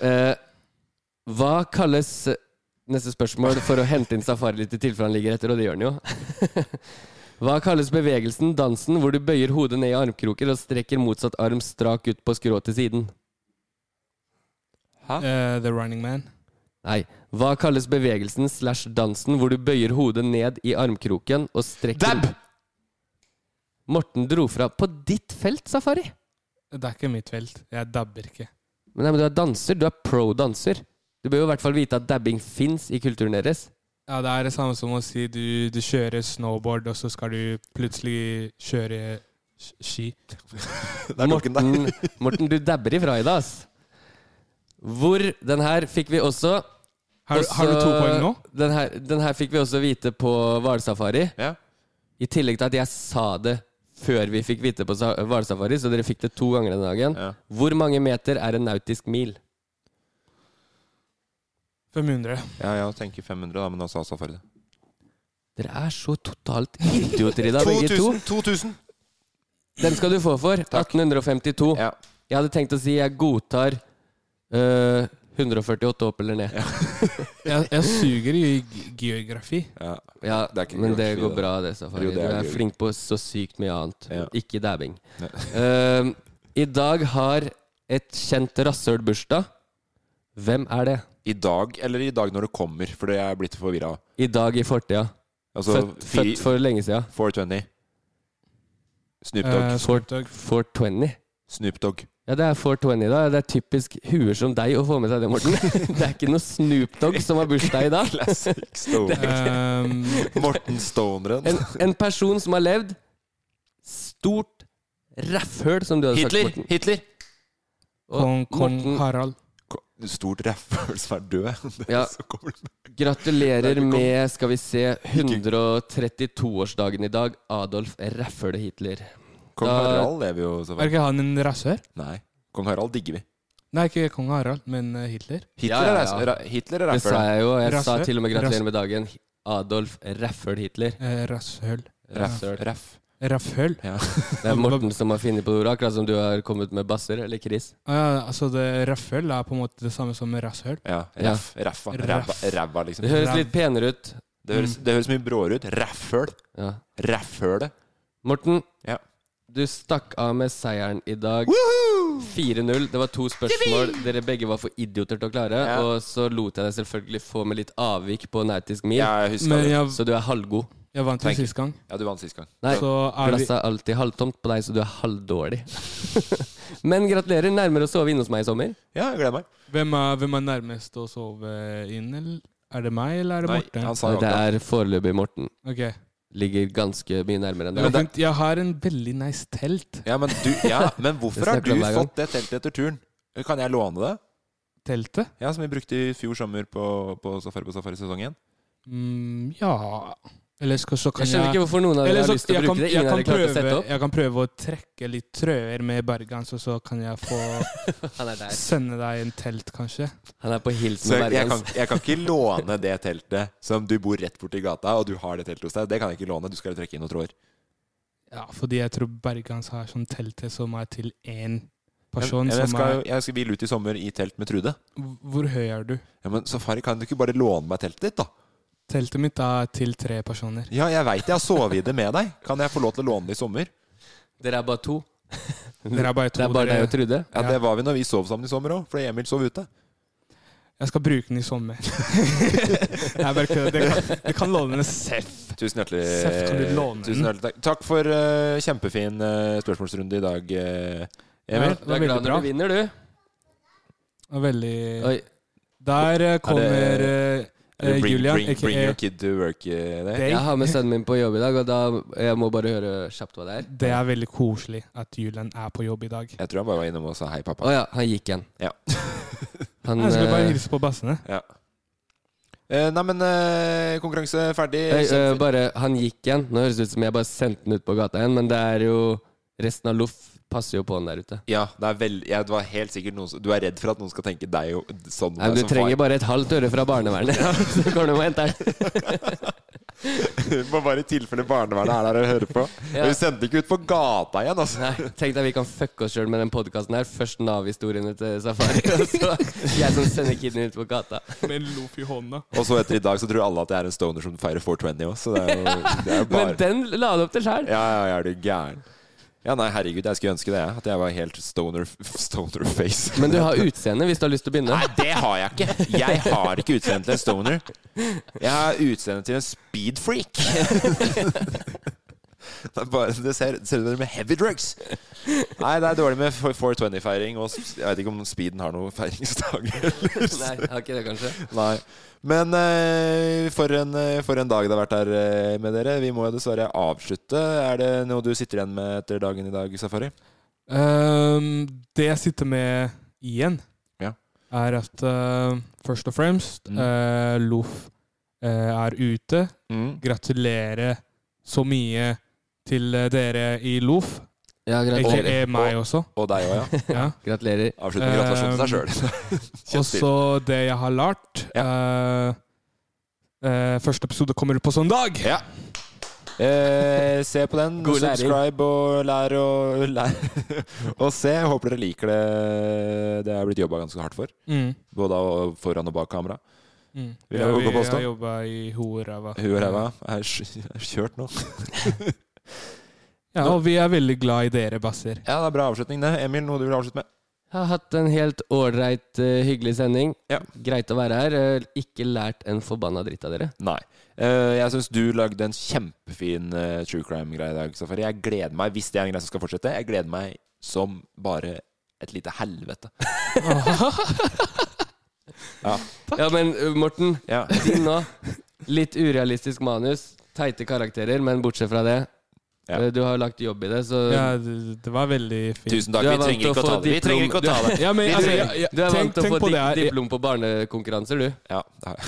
S4: Eh, hva kalles eh, Neste spørsmål for å hente inn safari litt i tilfelle han ligger etter, og det gjør han jo. Hva kalles bevegelsen, dansen, hvor du bøyer hodet ned i armkroker og strekker motsatt arm strak ut på skrå til siden?
S5: Eh, The Running Man.
S4: Nei. Hva kalles bevegelsen slash dansen hvor du bøyer hodet ned i armkroken og strekker Dab! Morten dro fra på ditt felt, Safari.
S5: Det er ikke mitt felt. Jeg dabber ikke.
S4: Men, nei, men du er danser. Du er pro-danser. Du bør jo i hvert fall vite at dabbing fins i kulturen deres.
S5: Ja, Det er det samme som å si du, du kjører snowboard, og så skal du plutselig kjøre sk- ski.
S4: Morten, Morten, du dabber ifra i dag, ass. Hvor Den her fikk vi også
S5: Har- har du
S4: Altså-
S5: to poeng nå?
S4: Den her, den her fikk vi også vite på hvalsafari. I tillegg til at jeg sa det før vi fikk vite på sa- hvalsafari, så dere fikk det to ganger denne dagen. Hvor mange meter er en nautisk mil?
S5: 500.
S3: Ja, jeg tenker 500, da, men da sa safari det.
S4: Dere er så totalt idioter i dag, begge to.
S3: 2000!
S4: Den skal du få for. 1852. Jeg hadde tenkt å si jeg godtar eh, 148 opp eller ned.
S5: Jeg, jeg suger i ge- geografi.
S3: Ja,
S5: det er ikke
S4: men det
S5: geografi,
S4: går
S5: det.
S4: bra, det, Safari.
S5: Jo, det
S4: du
S5: er
S4: er
S5: geografi.
S4: flink på så sykt mye annet.
S5: Ja.
S4: Ikke dabbing. Eh, I dag har et kjent rasshøl bursdag. Hvem er det?
S3: I dag, eller i dag når det kommer, for det er jeg blitt Altså, forvirra av.
S4: I dag i fortida. Født- født for lenge siden.
S3: 420. Snoop Dogg.
S4: Eh, Snoop Dogg. 420.
S3: Snoop Dogg.
S4: Ja, det er 420 da. Det er typisk huer som deg å få med seg det, Morten. Det er ikke noe Snoop Dogg som har bursdag i dag.
S3: Classic Stone.
S4: Det er
S5: Ehm,
S4: ikke-
S3: Morten Stoneren.
S4: En, en person som har levd stort ræffhøl, som du hadde
S3: Hitler!
S4: sagt, Morten.
S3: Hitler!
S4: Og
S5: Kong, kong
S4: Morten,
S5: Harald.
S3: Stort rævføl som er død. Det er
S4: Ja.
S3: så gammelt.
S4: gratulerer med, skal vi se, 132-årsdagen i dag, Adolf Ræffhøl Hitler.
S3: Kong
S4: Da-
S3: Harald lever jo så
S5: Er ikke han en rasshør?
S3: Nei. Kong Harald digger vi.
S5: Nei, ikke kong Harald, men eh, Hitler.
S3: Hitler er ræs- ra- Hitler er
S4: Det
S3: ræffhøl,
S4: sa jeg jo. Jeg sa
S5: Rasshøl.
S4: til og med
S5: Rass-
S4: gratulerer med dagen. Adolf Ræffhøl Hitler.
S5: Eh, Rasshøl.
S4: Ræffhøl.
S3: Raff.
S5: Raffhøl?
S4: Det er Morten som har funnet på ordet, akkurat som du har kommet med basser, eller Chris.
S5: Ah, Ja, altså det Raffhøl er på en måte det samme som rasshøl.
S3: Ja. Raff. Raffa. Ræva, ræva, liksom.
S4: Det høres litt penere ut.
S3: Det høres, det høres mye bråere ut. Ræffhøl.
S4: Ja.
S3: Ræffhølet.
S4: Morten,
S3: Ja.
S4: du stakk av med seieren i dag. 4-0. Det var to spørsmål dere begge var for idioter til å klare.
S3: Ja.
S4: Og så lot jeg deg selvfølgelig få med litt avvik på nautisk mil,
S3: Ja, jeg husker Men det. jeg-
S4: så du er halvgod.
S5: Jeg vant jo
S4: Thank you.
S5: sist gang.
S3: Ja, du vant sist gang.
S4: Nei,
S5: Så er vi-
S4: glasset er alltid halvtomt på deg, så du er halvdårlig. Men gratulerer. Nærmere å sove inne hos meg i sommer.
S3: Ja, jeg gleder meg.
S5: Hvem er, hvem er nærmest å sove inn? eller? Er det meg, eller er det Morten?
S4: det er foreløpig Morten.
S5: Ok.
S4: Ligger ganske mye nærmere enn
S5: Men vent, jeg har en veldig nice telt.
S3: Ja, men, du, ja, men hvorfor
S4: Det
S3: har
S4: snakker
S3: du
S4: vi om hver gang.
S3: fått det teltet etter turen? Kan jeg låne det?
S5: Teltet?
S3: Ja, Som vi brukte i fjor sommer på, på Safari på Safari-sesongen?
S5: Mm, ja Eller skal, så kan
S4: Jeg skjønner ikke hvorfor noen av dere
S5: Eller
S4: har
S5: så-
S4: lyst til å
S5: jeg
S4: bruke
S5: kan-
S4: det. Ingen
S5: jeg
S4: av
S5: kan
S4: dere klarte å
S5: prøve-
S4: sette opp.
S5: Jeg kan prøve å trekke litt trøyer med bergans, og så kan jeg
S4: Han er der.
S5: få sende deg en telt, kanskje.
S4: Han er på hils
S3: Så jeg,
S4: med
S3: jeg, kan,
S4: Bergans.
S3: jeg kan ikke låne det teltet som du bor rett borti gata, og du har det teltet hos deg. Det kan jeg ikke låne. Du skal trekke inn noen tråder.
S5: Ja, fordi jeg tror bergans har sånn teltet som er til én person.
S3: jeg, jeg,
S5: som
S3: skal,
S5: er,
S3: jeg skal hvile ut i sommer i telt med Trude.
S5: hvor høy er du?
S3: Ja, Men Safari, kan du ikke bare låne meg teltet ditt, da?
S5: Teltet mitt er til tre personer.
S3: Ja, jeg veit jeg har sovet i det med deg. Kan jeg få lov til å låne det i sommer?
S4: Dere er bare to.
S5: Dere er bare to,
S4: Mhm. Det er bare
S5: dere-
S4: deg og Trude.
S3: Ja, det var vi når vi sov sammen i sommer òg, fordi Emil sov ute.
S5: Jeg skal bruke den i sommer. jeg bare kødder. Dere kan- dere kan låne den seff.
S3: Tusen hjertelig,
S5: Seff kan du låne den.
S3: tusen hjertelig takk. Takk for eh, kjempefin eh, spørsmålsrunde i dag, eh, Emil.
S5: Ja, det var veldig bra.
S4: vinner, du.
S5: Og Veldig
S4: Oi.
S5: Der eh, kommer
S3: Er det-
S5: eh,
S3: er det
S5: eh,
S3: bring,
S5: Julian,
S3: bring, bring
S5: aka
S3: your kid to work eh, day?
S5: Day.
S4: Jeg har med sønnen min på jobb i dag, og da jeg må bare høre kjapt hva det er.
S5: Det er veldig koselig at Julian er på jobb i dag.
S3: Jeg tror han bare var innom og sa hei, pappa.
S4: Å ja, han gikk igjen.
S3: Ja.
S4: Han,
S5: jeg skulle bare
S4: eh,
S5: hilse på bassene.
S3: Ja. Eh, nei, men eh, konkurranse ferdig.
S4: Øy, ø,
S3: Kjempefin.
S4: eh, bare, han gikk igjen. Nå høres det ut som jeg bare sendte han ut på gata igjen, men det er jo Resten av Loff passer jo på han der ute.
S3: ja, det er vel, ja, det var helt sikkert noen som Du er redd for at noen skal tenke deg jo, sånn
S4: Nei, men Du
S3: som
S4: trenger
S3: far.
S4: bare et halvt øre fra barnevernet, så går du og henter den.
S3: Må bare i tilfelle barnevernet er der og hører på.
S4: Ja.
S3: Men Vi sendte ikke ut på gata igjen, altså.
S4: Nei, Tenk deg vi kan fucke oss sjøl med den podkasten her. Først Nav-historiene til Safari, og så jeg som sender kiden ut på gata.
S5: Med en loff i hånda.
S3: Og så etter i dag så tror alle at jeg er en stoner som feirer 420 også, så det er jo, det er jo bare
S4: Men den la han opp til sjæl.
S3: Ja, ja, ja, er du gæren. Ja, nei, herregud, jeg skulle ønske det, jeg. At jeg var helt stoner, stoner face.
S4: Men du har utseende hvis du har lyst til å begynne.
S3: Nei, det har jeg ikke! Jeg har ikke utseende til en stoner. Jeg har utseende til en speedfreak. Det, er bare, det ser ser ut som det er med heavy drugs. Nei, det er dårlig med 420-feiring. Og s- jeg vet ikke om speeden har noen feiringsdag.
S4: Nei, har ikke det, kanskje?
S3: Nei. Men eh, for, en, eh, for en dag det har vært her eh, med dere. Vi må jo dessverre avslutte. Er det noe du sitter igjen med etter dagen i dag, Safari?
S5: Ehm, det jeg sitter med igjen,
S3: Ja.
S5: er at eh, først og fremst eh, Loff eh, er ute.
S3: Mm.
S5: Gratulerer så mye til eh, dere i Loff.
S4: Ja, gratulerer.
S5: Ikke meg også.
S3: Og deg òg, ja.
S5: Ja. ehm,
S4: Gratulerer.
S3: Avslutt med gratulasjon til deg sjøl.
S5: Og så det jeg har lært. Eh, eh, første episode kommer ut på søndag!
S3: Ja. Eh, se på den.
S5: God læring.
S3: subscribe og lær og lær. og se. Jeg Håper dere liker det. Det er blitt jobba ganske hardt for.
S5: Mm.
S3: Både av- foran og bak kamera.
S5: Mm.
S3: Vil
S5: Ja,
S3: jeg
S5: vi
S3: våge å
S5: har
S3: påstå.
S5: jobba i hoeræva.
S3: Huet og ræva er sk- er kjørt nå.
S5: Ja, og vi er veldig glad i dere, basser.
S3: ja, det er bra avslutning, det. Emil, noe du vil avslutte med?
S4: Jeg har hatt en helt ålreit, eh, hyggelig sending. Greit å være her. Eh, Ikke lært en forbanna dritt av dere.
S3: Nei. Eh, jeg syns du lagde en kjempefin eh, true crime-greie i dag, Safari. Jeg gleder meg, hvis det er en greie som skal fortsette, jeg gleder meg som bare et lite helvete. ja.
S4: Ja, men eh, Morten, din nå. Litt urealistisk manus. Teite karakterer, men bortsett fra det. eh, Du har jo lagt jobb i det, så
S5: Ja, det, det var veldig fint.
S3: Tusen takk. Vi trenger ikke å ta det. Vi trenger ikke å ta det.
S5: Ja, men,
S4: Du-
S5: altså, jeg, jeg,
S4: du er vant
S5: tenk,
S4: til å
S5: tenk
S4: få
S5: på
S4: di
S5: det her. Jeg,
S4: diplom på barnekonkurranser, du.
S3: Ja, det har jeg.